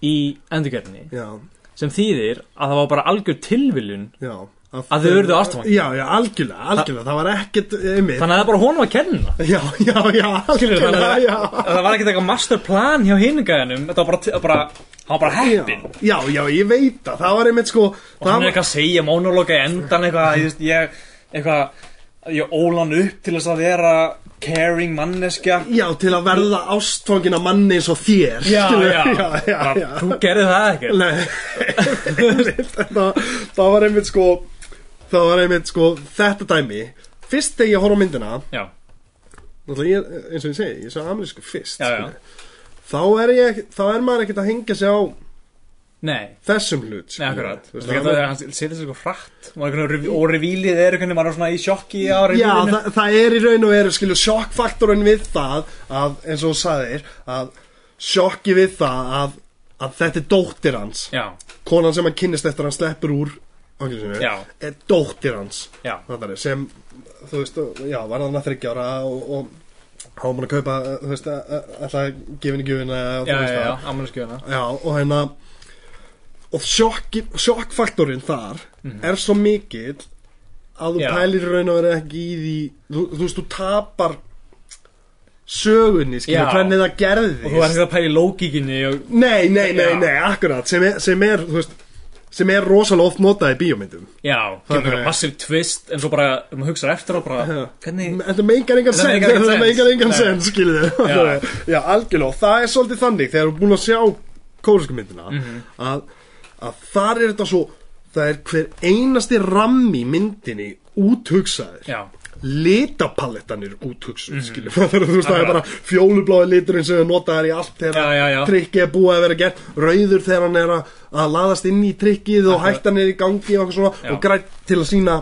Speaker 2: í endurgerðinni
Speaker 1: já,
Speaker 2: sem þýðir að það var bara algjör tilviljun
Speaker 1: já
Speaker 2: Að þau urðu ástfangin.
Speaker 1: já, já, algjörlega, algjörlega, það var ekkert eh, einmitt
Speaker 2: þannig að það er bara honum að kenna
Speaker 1: já, já, já,
Speaker 2: skilur við
Speaker 1: algjörlega
Speaker 2: þannig
Speaker 1: já.
Speaker 2: að að það var ekkert eitthvað masterplan hjá hiningæðinum þetta var bara, t- bara hann var bara
Speaker 1: Já,
Speaker 2: heppin
Speaker 1: já, já, ég veit það, það var einmitt sko
Speaker 2: og hann er eitthvað að segja monologa í endan eitthvað, ég, veist, ég, eitthvað ég ól hann upp til þess að vera caring manneskja
Speaker 1: Já, til að verða ástfangin af manni eins og þér
Speaker 2: já,
Speaker 1: skilur,
Speaker 2: já,
Speaker 1: já, já,
Speaker 2: Bara,
Speaker 1: já.
Speaker 2: þú gerði það ekkert
Speaker 1: Nei, þetta, það var einmitt sko það var einmitt sko þetta dæmi fyrst þegar ég horf á myndina
Speaker 2: já,
Speaker 1: náttúrulega ég, eins og ég segi, ég svo amerísku fyrst
Speaker 2: já, já,
Speaker 1: skilur. þá er ég þá er maður ekkert að hengja sig á
Speaker 2: nei
Speaker 1: þessum hlut
Speaker 2: Nei,
Speaker 1: skilur.
Speaker 2: akkurat,
Speaker 1: Þú
Speaker 2: þú
Speaker 1: veist,
Speaker 2: veist ekki
Speaker 1: það
Speaker 2: að hann setja sér eitthvað frætt og, einhvern veginn rev- og revílið er einhvern veginn maður er svona í sjokki á
Speaker 1: Já,
Speaker 2: revílinu
Speaker 1: það, það er í raun og veru skilju sjokkfaktorinn við það að, eins og þú sagðir, að sjokki við það að, að þetta er dóttir hans
Speaker 2: Já,
Speaker 1: konan sem hann kynnist eftir að hann sleppur úr fangilsinu
Speaker 2: Já.
Speaker 1: er dóttir hans
Speaker 2: já,
Speaker 1: Þarna er, sem, þú veist, já, var hann að þryggja ára og, og hann var búin að kaupa þú veist, alltaf gefinu gjöfina og þú
Speaker 2: já, já,
Speaker 1: veist
Speaker 2: já,
Speaker 1: það
Speaker 2: ammalskjöfuna
Speaker 1: já, og hérna og sjokki, sjokkfaktorinn þar er svo mikill að þú
Speaker 2: Mhm. Já.
Speaker 1: pælir í raun og verið ekki í því þú, þú veist, þú tapar sögunni, skilur,
Speaker 2: Já.
Speaker 1: hvernig það gerðist
Speaker 2: Og þú er ekki að pæla í lógíkinni og
Speaker 1: Nei, nei, nei,
Speaker 2: Já.
Speaker 1: nei, akkurat sem er, sem er, þú veist sem er rosalega oft notað í bíómyndum
Speaker 2: Já, kemur
Speaker 1: Þannig-
Speaker 2: eitthvað massiv twist en svo bara, ef maður hugsar eftir og bara
Speaker 1: Já.
Speaker 2: Hvernig,
Speaker 1: Þetta meikar engan sens
Speaker 2: Þetta meikar engan
Speaker 1: Þetta
Speaker 2: sens.
Speaker 1: meikar engan
Speaker 2: Nei.
Speaker 1: sens, skilur þau
Speaker 2: Já.
Speaker 1: Já, algjörlega, og það er svolítið þannig þegar við erum búin að sjá kórisku myndina
Speaker 2: Mhm.
Speaker 1: að, að þar er þetta svo það er hver einasti rammi í myndinni úthugsaður
Speaker 2: já, Mhm.
Speaker 1: litapalettanir úthugsuð mm. skilur, það, er, þú veist, það er bara fjólublái liturinn sem við notaðar í allt
Speaker 2: Já, já, já.
Speaker 1: þegar trikkið er búið að vera gert rauður þegar hann er að, að laðast inn í trikkið og hættan er í gangi og, eitthvað svona,
Speaker 2: Já.
Speaker 1: og grætt til að sína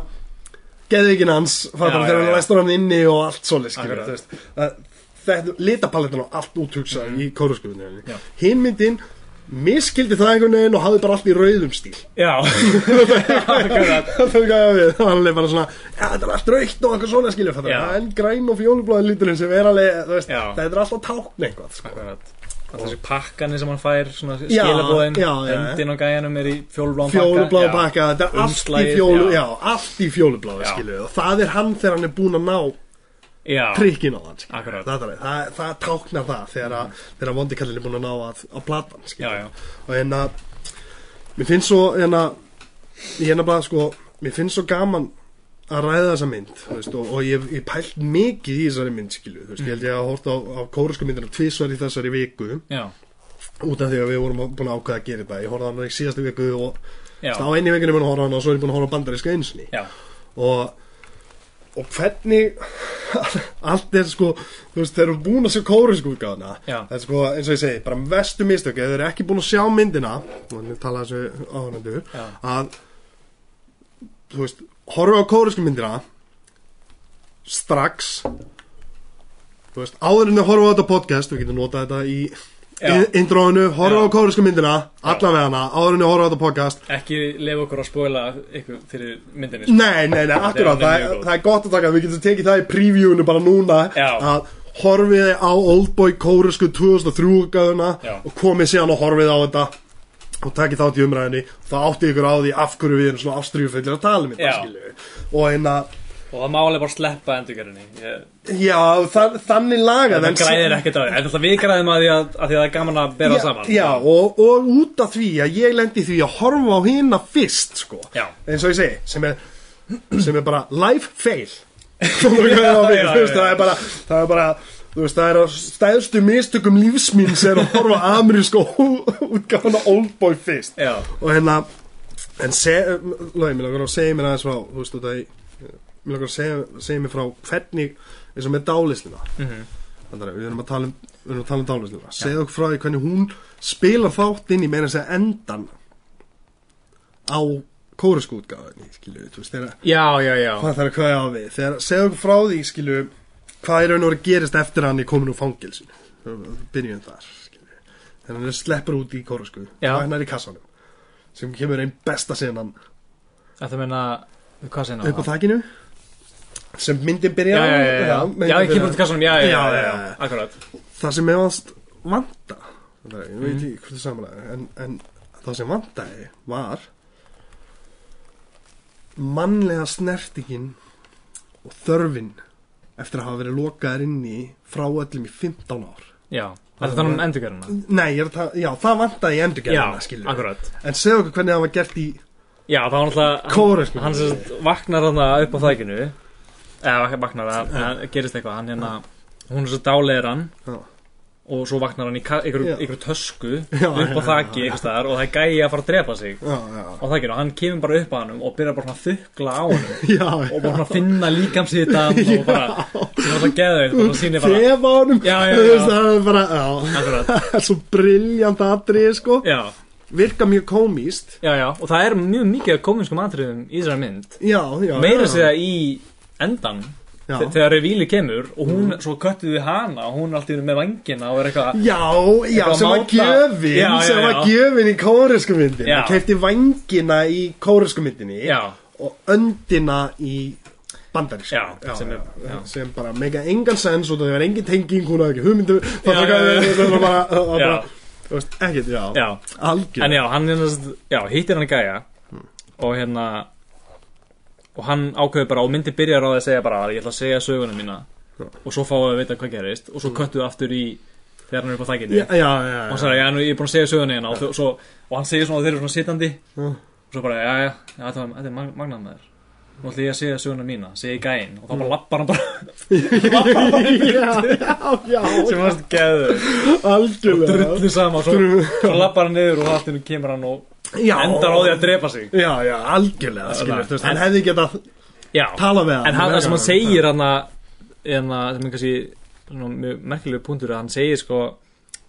Speaker 1: geðvikin hans fattar
Speaker 2: Já,
Speaker 1: þú, þegar
Speaker 2: já,
Speaker 1: hann
Speaker 2: já.
Speaker 1: læstur hann inni og allt svoleið skilur,
Speaker 2: Akkurat.
Speaker 1: þú veist. Það- þetta litapalettan og allt úthugsaður í
Speaker 2: Mhm. Já.
Speaker 1: kóruskufunni hinn myndin miskildi það einhvern veginn og hafði bara allt í rauðum stíl
Speaker 2: já Akkurat
Speaker 1: það er hvað við, það er alveg bara svona já, þetta er allt raukt og eitthvað svona skilur fattar
Speaker 2: Já.
Speaker 1: við. en græn og fjólubláði liturinn sem er alveg, þú veist,
Speaker 2: Já.
Speaker 1: þetta er alltaf tákn eitthvað, sko.
Speaker 2: Akkurat Alltaf þessi pakkani sem hann fær, svona
Speaker 1: Já,
Speaker 2: skilabóðin
Speaker 1: já, já.
Speaker 2: Endin á gæjanum er í fjólubláum pakka
Speaker 1: fjólubláði
Speaker 2: já.
Speaker 1: baka, þetta er allt í
Speaker 2: Umslagið,
Speaker 1: fjólu
Speaker 2: já.
Speaker 1: já, allt í fjólubláði
Speaker 2: Já.
Speaker 1: skilur við. og það er hann þegar hann er búinn að ná
Speaker 2: Já,
Speaker 1: prikkin á hann skilur við.
Speaker 2: Akkurat.
Speaker 1: það, er- það, það táknar það þegar, að, þegar að vondi kallin er búinn að ná að, að platan
Speaker 2: já,
Speaker 1: skilur við.
Speaker 2: já,
Speaker 1: og hérna mér finnst svo hérna hérna bara sko mér finnst svo gaman að ræða þessa mynd þú veist, og, og ég, ég pælt mikið í þessari mynd skilu, þú veist, ég held ég að horta á, á kórusku myndina tvisvar í þessari viku
Speaker 2: já,
Speaker 1: út af því að við vorum búin að ákveða að gera þetta ég horfði á hana í síðastu viku og
Speaker 2: já,
Speaker 1: á einni vikinu mun að horfa á hana og svo er ég búin að horfa á bandaríska einsinni
Speaker 2: já,
Speaker 1: og og hvernig allt er sko, þú veist, þeir eru búin að sjá kórisku útgáðuna,
Speaker 2: Já.
Speaker 1: það er sko eins og ég segi, bara vestu mistök, ef þeir eru ekki búin að sjá myndina, og við tala þessu áhörnendur,
Speaker 2: Já.
Speaker 1: að þú veist, horfa á kórisku myndina strax þú veist, áður en þau horfa á þetta podcast, við getum notað þetta í
Speaker 2: Já.
Speaker 1: í- introinu, horfa
Speaker 2: Já.
Speaker 1: á kórisku myndina allavega hana, áður en þau horfa á þetta podcast
Speaker 2: ekki lefa okkur að spoila ykkur fyrir myndinni sko.
Speaker 1: Nei, nei, nei, akkurát,
Speaker 2: Þetta er
Speaker 1: það,
Speaker 2: mjög
Speaker 1: er-
Speaker 2: góð.
Speaker 1: það er gott að taka Við getum tekið það í previewinu bara núna
Speaker 2: Já.
Speaker 1: Að horfiði á Oldboy Kórusku 2003 gæðuna
Speaker 2: Já.
Speaker 1: Og komið síðan og horfið á þetta Og takið þátt í umræðinni Þá átti ykkur á því af hverju við erum svona ástríðufullir að tala um
Speaker 2: Já.
Speaker 1: þetta skilju Og einna,
Speaker 2: Og það má alveg bara sleppa endurgerðinni. Ég-
Speaker 1: Já, það, þannig lagað
Speaker 2: Það græðir ekkert á því. En það við græðum að því að, að því að það er gaman að bera
Speaker 1: já,
Speaker 2: saman.
Speaker 1: Já, og, og út af því að ég lendi í því að horfa á hina fyrst, sko
Speaker 2: Já.
Speaker 1: Eins og ég segi, sem er, sem er bara life fail Þú veist, það
Speaker 2: já, já.
Speaker 1: er bara, það er bara Þú veist, það er á stæðstu mistökum lífsmín sem er að horfa á amerísku útgáfuna Oldboy fyrst
Speaker 2: Já.
Speaker 1: og hérna en seg, logi, mér langar að segja mér aðeins frá þú veist þetta mér langar að segja, segja mér frá hvernig eins og með dálislina
Speaker 2: Mhm.
Speaker 1: þannig að við erum að tala um við erum að tala um dálislina segja okkur frá því hvernig hún spilar þátt inn í meira að segja endan á kóresku útgáðinni skilju, þú veist þegar
Speaker 2: Já, já, já.
Speaker 1: hvað þarf að kvæða á við þegar segja okkur frá því skilju hvað er raun og verið gerist eftir að hann er komin úr fangilsinu byrjum þar skilju þegar hann er sleppur út í kórasku
Speaker 2: Já.
Speaker 1: hann er í kassanum sem kemur einn besta senan
Speaker 2: Þetta meina, hvað segna
Speaker 1: upp á þakkinu sem myndin byrja
Speaker 2: Já, já, já, já, já,
Speaker 1: myndin
Speaker 2: já ég
Speaker 1: byrjar
Speaker 2: kemur út í kassanum, já, já, já, já,
Speaker 1: Já, já,
Speaker 2: já,
Speaker 1: já.
Speaker 2: akkurat
Speaker 1: það sem ég varst vanta það er, ég veit ekki hvort það samanlega en, en það sem vantaði var mannlega snertingin og þörfin eftir að hafa verið lokaðar inni frá öllum í 15 ár
Speaker 2: Já, þetta er þannig um endurgerðina
Speaker 1: Nei, ég er að ta- já, það vantaði í endurgerðina
Speaker 2: Já,
Speaker 1: skilur
Speaker 2: akkurat
Speaker 1: En segðu okkur hvernig það var gert í
Speaker 2: Já, það var náttúrulega
Speaker 1: Kóra, sko.
Speaker 2: Hann sem sagt vaknar hann upp á þækinu Eða vaknar að, að gerist eitthvað Hann hérna, hún er svo dálegir hann
Speaker 1: Já.
Speaker 2: Og svo vaknar hann í ka- einhverju
Speaker 1: Já.
Speaker 2: einhverju tösku
Speaker 1: Já,
Speaker 2: Upp á
Speaker 1: já,
Speaker 2: þaki, eitthvað staðar Og það er gæi að fara að drepa sig
Speaker 1: Já, já,
Speaker 2: Á þækinu, og hann kemur bara upp að hannum Og byrjar bara svona að þukla á hannum
Speaker 1: já
Speaker 2: Og bara svona að finna líkamsítan Og bara, sem var svo geðveit Og það sýnir bara,
Speaker 1: Þefa honum
Speaker 2: Já, já,
Speaker 1: þú veist,
Speaker 2: já.
Speaker 1: Það er bara, já
Speaker 2: akkurat
Speaker 1: Það er svo briljant atrið, sko
Speaker 2: Já,
Speaker 1: Virka mjög komíst
Speaker 2: Já, já, og það er mjög mikið af komiskum atriðum í þessari mynd
Speaker 1: Já, já
Speaker 2: Meira
Speaker 1: já.
Speaker 2: sig það í endan
Speaker 1: Já. Mm.
Speaker 2: þe- Þegar revíli kemur og hún, svo köttuðu hana og hún er alltaf með vangina og er eitthvað
Speaker 1: Já, já,
Speaker 2: Eitthvað
Speaker 1: sem var
Speaker 2: máta-
Speaker 1: gjöfin
Speaker 2: Já, já,
Speaker 1: sem var
Speaker 2: já.
Speaker 1: gjöfin í kóresku myndinni
Speaker 2: Já.
Speaker 1: Það kefti vangina í kóresku myndinni
Speaker 2: Já.
Speaker 1: og öndina í bandarísku
Speaker 2: Já, sem er- já.
Speaker 1: sem bara mega engan sens og það er engin tenging, hún hafði ekki hugmyndu það
Speaker 2: Já,
Speaker 1: var
Speaker 2: já, já.
Speaker 1: bara, það var bara, það var bara
Speaker 2: Já.
Speaker 1: þú veist, ekkert, já,
Speaker 2: Já,
Speaker 1: algjör
Speaker 2: en já, hann er næst- já, hittir hann í gæja
Speaker 1: Mm.
Speaker 2: og hérna og hann ákveður bara og myndi byrjar á því að segja bara ég ætla að segja söguna mína
Speaker 1: Já. Mm.
Speaker 2: og svo fáum við að vita hvað gerist og svo köttuðu aftur í þegar hann er upp á þækinni
Speaker 1: já, já, já,
Speaker 2: og hann sagði, já, nú, ég er búin að segja söguna hérna og, þau- svo, og hann segir svona og þeir eru svona sittandi
Speaker 1: Já.
Speaker 2: og svo bara, já, já, já þetta var- þetta er mag- magnað með þér nú ætlum ég að segja söguna mína, segi gæinn og þá
Speaker 1: Mm.
Speaker 2: bara lappar hann bara
Speaker 1: já, já, já,
Speaker 2: sem varst geður,
Speaker 1: algjörlega
Speaker 2: drullu sama og svo, svo lappar hann niður og þá allir kemur hann og
Speaker 1: Já.
Speaker 2: endar á því að drepa sig
Speaker 1: Já, já, algjörlega, skilur,
Speaker 2: það.
Speaker 1: þú veist, hann hefði getað
Speaker 2: já,
Speaker 1: talað við hann
Speaker 2: en hann, það sem hann
Speaker 1: Já.
Speaker 2: segir hann að en að, það er kannski svona mjög merkilegu punktur að hann segir sko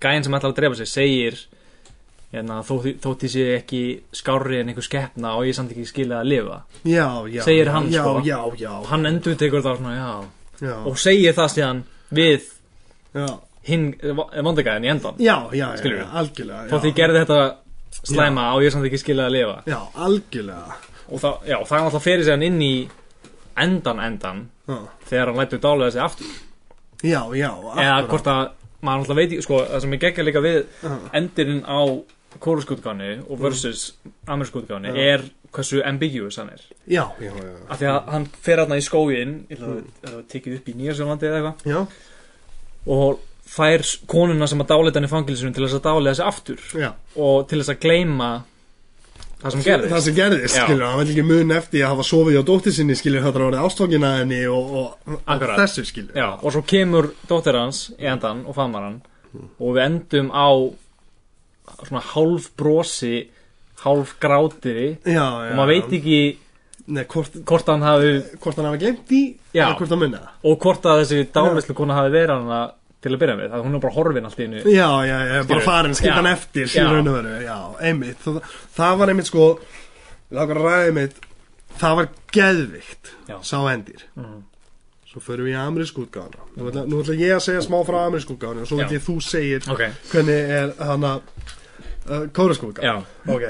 Speaker 2: gæinn sem ætlar að drepa sig segir hérna, þótt þótt ég sé ekki skárri en einhver skeppna og ég samt ekki skilja að lifa
Speaker 1: Já, já,
Speaker 2: Segir hann,
Speaker 1: já,
Speaker 2: sko.
Speaker 1: Já, já,
Speaker 2: og hann endur tekur það svona já
Speaker 1: já,
Speaker 2: og segir það síðan við
Speaker 1: já.
Speaker 2: hinn eh, vondegæðin í endan
Speaker 1: Já, já, já,
Speaker 2: Skilurðu?
Speaker 1: já, algjörlega já.
Speaker 2: þótt ég gerði þetta slæma og ég samt ekki skiljaði að lifa
Speaker 1: Já, algjörlega
Speaker 2: og það, já, það er alltaf fyrir sig hann inn í endan endan
Speaker 1: Já,
Speaker 2: þegar hann lætur dálega sig aftur
Speaker 1: já, já
Speaker 2: eða
Speaker 1: akkúrat.
Speaker 2: hvort að maður alltaf veit ekki sko, það sem ég geggja líka við endirinn á kóruskútgáni og versus amerskútgáni er hversu ambiguous hann er
Speaker 1: Já, já, já
Speaker 2: af því að hann fer hann í skógin ég ætla að það var tekið upp í Nýjarsjólandi eða eitthvað
Speaker 1: Já,
Speaker 2: og fær konuna sem að dáleita hann í fangilsinu til þess að dáleita þessi aftur
Speaker 1: já
Speaker 2: og til þess að gleyma það sem gerðist
Speaker 1: Það sem gerðist,
Speaker 2: Já.
Speaker 1: skilur, hann vil ekki mun eftir að hafa sofið á dóttir sinni, skilur, þetta var ástofngina henni og, og, og
Speaker 2: Akkurat.
Speaker 1: þessu, skilur
Speaker 2: Já, og svo kemur dóttir hans í endan og famar hann og við endum á svona hálf brosi hálf grátiri
Speaker 1: já,
Speaker 2: og maður veit ekki
Speaker 1: Nei, hvort,
Speaker 2: hvort hann hafi
Speaker 1: hvort hann hafa glemt því,
Speaker 2: Já.
Speaker 1: eða hvort hann munna
Speaker 2: og hvort að þessi dálislu kona hafi verið hann að- til að byrja með, það hún er bara horfin allt í einu
Speaker 1: Já, já, já, bara
Speaker 2: Skilurðu?
Speaker 1: farin,
Speaker 2: Já.
Speaker 1: skilur hann eftir, skilur
Speaker 2: Já.
Speaker 1: hann öðru Já, einmitt, það, það var einmitt sko Lákar að ræða einmitt Það var geðvikt,
Speaker 2: Já. Mhm.
Speaker 1: sá endir Svo förum við í amerísku útgáðana nú, ætla- nú ætla ég að segja smá frá amerísku útgáðana og Svo
Speaker 2: Já.
Speaker 1: veit ég þú segir
Speaker 2: Ok,
Speaker 1: hvernig er hann að uh, kóresku útgáðan
Speaker 2: já,
Speaker 1: Ok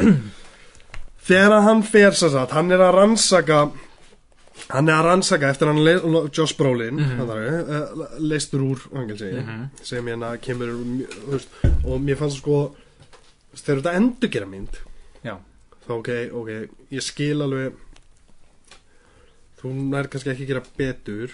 Speaker 1: Þegar að hann fer sér satt, hann er að rannsaka Hann er að rannsaka eftir að hann le- lo- Josh Brolin mm -hmm. uh, leistur úr vangelsi sem hérna kemur mjö- þú veist, og mér fannst sko þú veist, þegar þetta endurgera mynd
Speaker 2: já
Speaker 1: þá ok, ok, ég skil alveg þú hún er kannski ekki að gera betur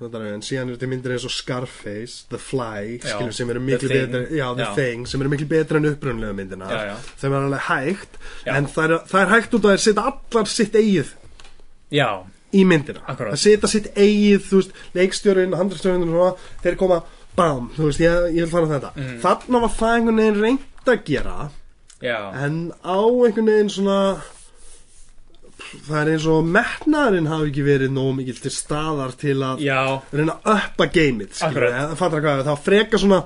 Speaker 1: þetta er en síðan er þetta myndir eins og Scarface, The Fly
Speaker 2: Já,
Speaker 1: skilur, sem eru
Speaker 2: The
Speaker 1: miklu
Speaker 2: Thing.
Speaker 1: betri já, The
Speaker 2: Já.
Speaker 1: Thing, sem eru miklu betri en upprunlega myndina
Speaker 2: Já, já.
Speaker 1: þeim er alveg hægt
Speaker 2: Já.
Speaker 1: en það er, það er hægt út að þeir setja allar sitt eigið
Speaker 2: Já,
Speaker 1: í myndina
Speaker 2: Akkúrat.
Speaker 1: að setja sitt eigið, þú veist, leikstjórinn handlustjórinn og svona, þeir koma bam, þú veist, ég, ég vil fara á þetta mm. þarna var það einhvern veginn reynd að gera
Speaker 2: já,
Speaker 1: en á einhvern veginn svona það er eins og metnaðurinn hafi ekki verið nógu mikill til staðar til að
Speaker 2: já,
Speaker 1: reyna að uppa gameið skilur
Speaker 2: Akkurat.
Speaker 1: við, það fattar hvað, það freka svona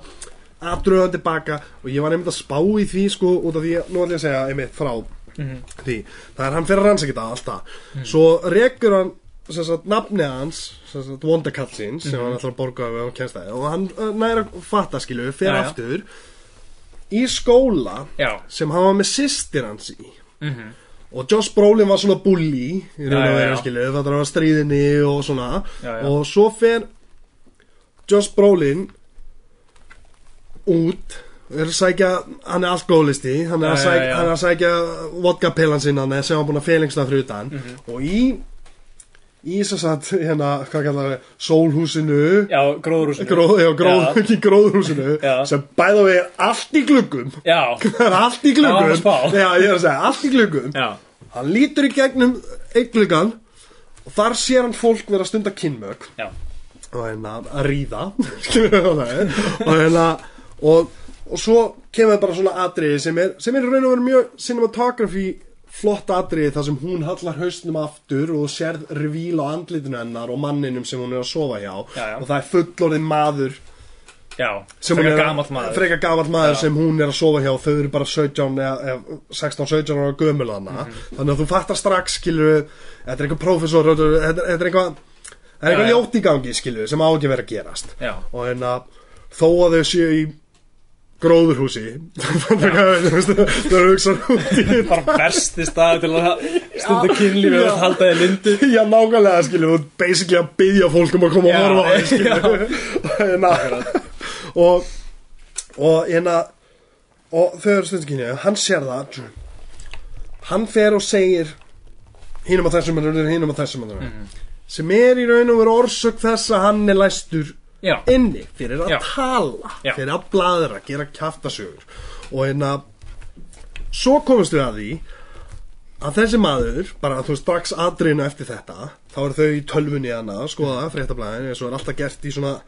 Speaker 1: aðdröðan tilbaka og ég var einmitt að spá í því sko út af því, nú ætlum ég að segja einmitt frá
Speaker 2: Mhm.
Speaker 1: því, það er hann fyrir ranns ekki það alltaf, svo rekur hann sem sagt nafni hans sem sagt Wondakallsins,
Speaker 2: Mhm.
Speaker 1: sem hann ætlar að borga ef hann kemst það, og hann uh, næra fatta skilu, fer
Speaker 2: Já, já.
Speaker 1: aftur í skóla
Speaker 2: já,
Speaker 1: sem hann var með sýstir hans í og Josh Brolin var svona bully í raun
Speaker 2: Mhm.
Speaker 1: og
Speaker 2: Já, já,
Speaker 1: veru
Speaker 2: já.
Speaker 1: skilu þetta var stríðinni og svona
Speaker 2: Já, já.
Speaker 1: og svo fer Josh Brolin út er að sækja, hann er alkoholisti hann er, að
Speaker 2: Já, já,
Speaker 1: sækja,
Speaker 2: já.
Speaker 1: hann er að sækja vodka pillan sinna hann er sem hann búin að félingsta fyrir utan
Speaker 2: Mhm.
Speaker 1: og í í þess að hérna, hvað kallar það sólhúsinu
Speaker 2: já, gróðurúsinu
Speaker 1: gróð, já, gróð,
Speaker 2: Já.
Speaker 1: ekki gróðhúsinu
Speaker 2: Já.
Speaker 1: sem bæða við er allt í gluggum
Speaker 2: Já,
Speaker 1: Það er allt í
Speaker 2: Það var að spá.
Speaker 1: gluggum Já, ég er að segja, allt í gluggum
Speaker 2: já,
Speaker 1: Hann lítur í gegnum einn gluggan og þar sér hann fólk vera að stunda kynmök
Speaker 2: já,
Speaker 1: og hérna að ríða skilur við hvað það er, og hérna og, og svo kemur bara svona atriði sem er, sem er í raun og verið mjög cinematography flott atriði þar sem hún hallar hausnum aftur og þú sérð revíl á andlitinu hennar og manninum sem hún er að sofa hjá
Speaker 2: Já, já.
Speaker 1: og það er fullorðin maður
Speaker 2: já
Speaker 1: sem
Speaker 2: Frekar
Speaker 1: hún er-
Speaker 2: gamall maður
Speaker 1: frekar gamall maður
Speaker 2: Já.
Speaker 1: sem hún er að sofa hjá þau eru bara 17 eða eða 16, 17 ára gömul hana
Speaker 2: Mhm.
Speaker 1: þannig að þú fattar strax skilur þetta er eitthvað prófessor þetta er- þetta er eitthvað það er
Speaker 2: Já,
Speaker 1: eitthvað
Speaker 2: já.
Speaker 1: ljótt í gangi skilur sem á ekki að vera að gerast
Speaker 2: Já,
Speaker 1: og en að þó að þau séu í gróðurhúsi þú veist, þau eru hugsa út í
Speaker 2: bara versti stað til að stunda kynlífi
Speaker 1: Já.
Speaker 2: og halda þið lindu
Speaker 1: Já, nákvæmlega, skilur, þú ert basically að byggja fólk um að koma
Speaker 2: Já,
Speaker 1: og horfa á þig,
Speaker 2: já.
Speaker 1: skilur Na, og og hérna og þau eru stundum kynja, hann sér það hann fer og segir hínum að þessum mannur hínum að þessum mannur
Speaker 2: Mhm.
Speaker 1: sem er í raun og veru orsök þess að hann er læstur
Speaker 2: Já,
Speaker 1: inni fyrir að
Speaker 2: Já.
Speaker 1: tala
Speaker 2: Já.
Speaker 1: fyrir að bladra, gera kjaftasögur og hérna svo komumst við að því að þessi maður, bara þú veist strax aðrinu eftir þetta, þá eru þau í tölvunni hana, skoða, fréttablaðin eins og er alltaf gert í svona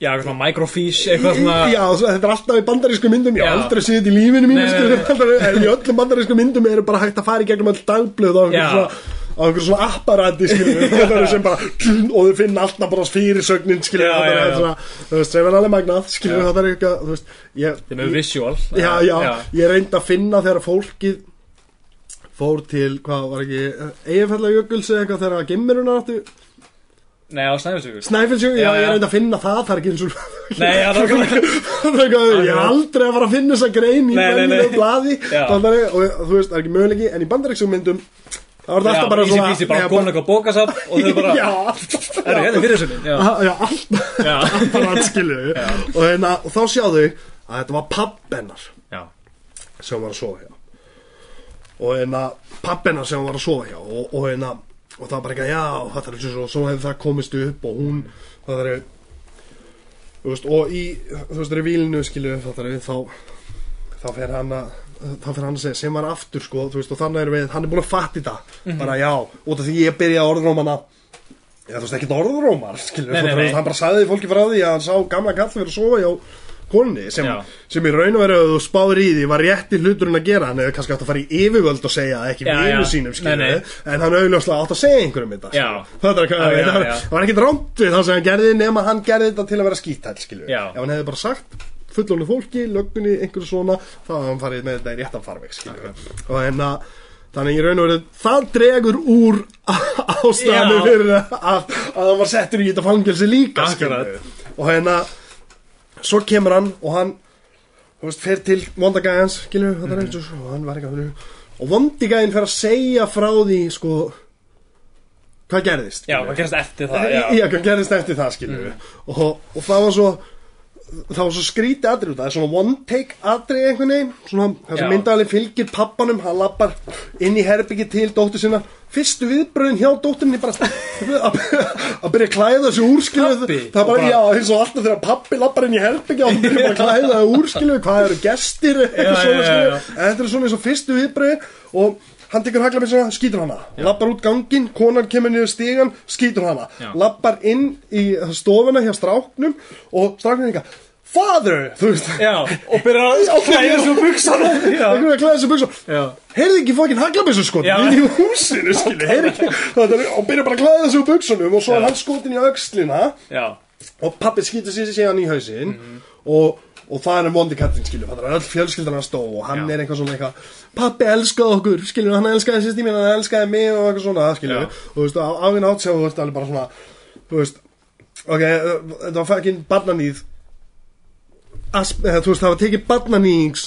Speaker 2: já, eitthvað svona microfiche, eitthvað svona
Speaker 1: já, þetta er alltaf í bandarísku myndum, ég
Speaker 2: Já.
Speaker 1: hef aldrei séð þetta í lífinu mínu
Speaker 2: Nei,
Speaker 1: skilur,
Speaker 2: nei, nei.
Speaker 1: aldrei- en í öllum bandarísku myndum eru bara hægt að fara í gegnum all dagblöð á einhver
Speaker 2: Já.
Speaker 1: svona á einhver svona apparati skilur þetta eru sem bara og þau finna alltaf bara fyrirsögnin skilur
Speaker 2: Já,
Speaker 1: þetta
Speaker 2: já,
Speaker 1: er
Speaker 2: já.
Speaker 1: svona þú veist, sem er alveg magnað skilur
Speaker 2: Já.
Speaker 1: þetta er eitthvað þú veist, ég,
Speaker 2: Þeim er visual
Speaker 1: já, já, ég reyndi að finna þegar fólkið fór til, hvað var ekki eiginfællajökuls eða eitthvað þegar gemmirunar áttu
Speaker 2: Nei, á snæfisögur
Speaker 1: Snæfellsjökull, já,
Speaker 2: Já,
Speaker 1: ég
Speaker 2: já.
Speaker 1: reyndi að finna það, það er ekki eins og
Speaker 2: Nei, já, það kom ekki
Speaker 1: Það er eitthvað, ég er aldrei að fara að finna þessa grein í
Speaker 2: Nei, nei,
Speaker 1: venjulegu
Speaker 2: nei.
Speaker 1: blaði
Speaker 2: Já.
Speaker 1: bandari, og þú veist, það er ekki möguleiki en í bandaríksum myndum það var þetta alltaf bara
Speaker 2: Ísi bísi, bara
Speaker 1: Já,
Speaker 2: komin eitthvað bókasap og þau bara,
Speaker 1: Já,
Speaker 2: já,
Speaker 1: alltaf
Speaker 2: er þetta fyrir sinni Já,
Speaker 1: Ah, Já, alltaf
Speaker 2: já,
Speaker 1: bara skilu og, hérna, og þá sjáðu að þetta var pabbennar
Speaker 2: já,
Speaker 1: sem hún var að sofa hjá og hérna pappina sem hún var að sofa hjá og, og hérna og það var bara eitthvað já það er eins og svo, svo hefði það komist upp og hún það er þú veist og í þú veist revílinu skilu það er þá þá fer hann að þá fer hann að segja sem var aftur sko þú veist og þannig erum við hann er búin að fatta þetta
Speaker 2: Mhm.
Speaker 1: bara já út af því ég byrja að orðrómana já þú veist ekki orðrómar skilu
Speaker 2: Nei, nei, nei.
Speaker 1: hann bara sagði fólki frá því að hann sá gamla kall fyrir að sofa hjá konni sem,
Speaker 2: Já.
Speaker 1: sem í raun og veru að þú spáir í því var rétti hluturinn að gera hann hefði kannski átt að fara í yfirvöld og segja það, ekki
Speaker 2: Já,
Speaker 1: vinu
Speaker 2: já.
Speaker 1: sínum skilur
Speaker 2: Nei, nei.
Speaker 1: en hann auðljóslega átt að segja einhverjum þetta
Speaker 2: Já.
Speaker 1: skilurðu. þetta er
Speaker 2: Já,
Speaker 1: hvað
Speaker 2: já,
Speaker 1: það
Speaker 2: já.
Speaker 1: var ekkit rámt við það sem hann gerði nema hann gerði þetta til að vera skítæll skilur
Speaker 2: Já.
Speaker 1: ef hann hefði bara sagt fullónu fólki, löggunni, einhverju svona þá hafði hann farið með þetta í réttan farveg skilur og en að Þannig í raun og veru, það dregur úr ástæðanum
Speaker 2: Já.
Speaker 1: fyrir að, að það var settur í þetta fangelsi líka
Speaker 2: Akkurat.
Speaker 1: skilurðu. Og hérna, svo kemur hann og hann þú veist, fer til vondagæðans skilur, mm -hmm. eins og svo, hann var eitthvað og vondagæðin fer að segja frá því sko hvað gerðist
Speaker 2: já,
Speaker 1: skilur.
Speaker 2: hvað gerist eftir það,
Speaker 1: Í-
Speaker 2: já Mm.
Speaker 1: já, hvað gerðist eftir það skilur og, og það var svo það var svo skrítið atrið út af það er svona one take atrið einhvern veginn svona það sem
Speaker 2: Já.
Speaker 1: myndalinn fylgir pappanum hann lappar inn í herbyggi til dóttur sinna fyrstu viðbröðin hjá dótturinni bara að að byrja að klæða sig úrskiluð
Speaker 2: Pabbi?
Speaker 1: það er
Speaker 2: Og
Speaker 1: bara,
Speaker 2: bara-
Speaker 1: já, eins og alltaf þegar pappi lappar inn í herbyggi og hann byrja bara að klæða það úrskiluð hvað eru gestir
Speaker 2: Já,
Speaker 1: eitthvað svona,
Speaker 2: já, já,
Speaker 1: skilurðu.
Speaker 2: já.
Speaker 1: En þetta er svona eins og fyrstu viðbröði og hann tekur hagla með svona, skýtur hana lappar út gangin, konan kemur niður stígan skýtur hana,
Speaker 2: Já.
Speaker 1: lappar inn í stofuna hjá stráknum og stráknum eitthvað, father þú veist,
Speaker 2: Já, og byrjar að klæða svo buksana Já,
Speaker 1: einhverju að klæða þessu buksum
Speaker 2: já,
Speaker 1: heyrði ekki fokkin haglabessu skotin
Speaker 2: Já.
Speaker 1: inn í húsinu skilji, heyrði ekki þetta er- og byrja bara að klæða þessu buksunum og svo er hann skotin í öxlina
Speaker 2: já
Speaker 1: og pappi skýtur sér síðan í hausinn og, og það er en vondi kattin skilur það er öll fjölskyldan að stó og hann
Speaker 2: Já.
Speaker 1: er eitthvað svona eitthvað pappi elskaði okkur skilur hann elskaði sýsti mín hann elskaði mig og eitthvað svona skilur
Speaker 2: Já.
Speaker 1: og þú veist á áinn átsjá þú veist alveg bara svona þú veist ok eh, þetta var fækinn barnaníð Asp, eða, þú veist það var tekið barnaníðings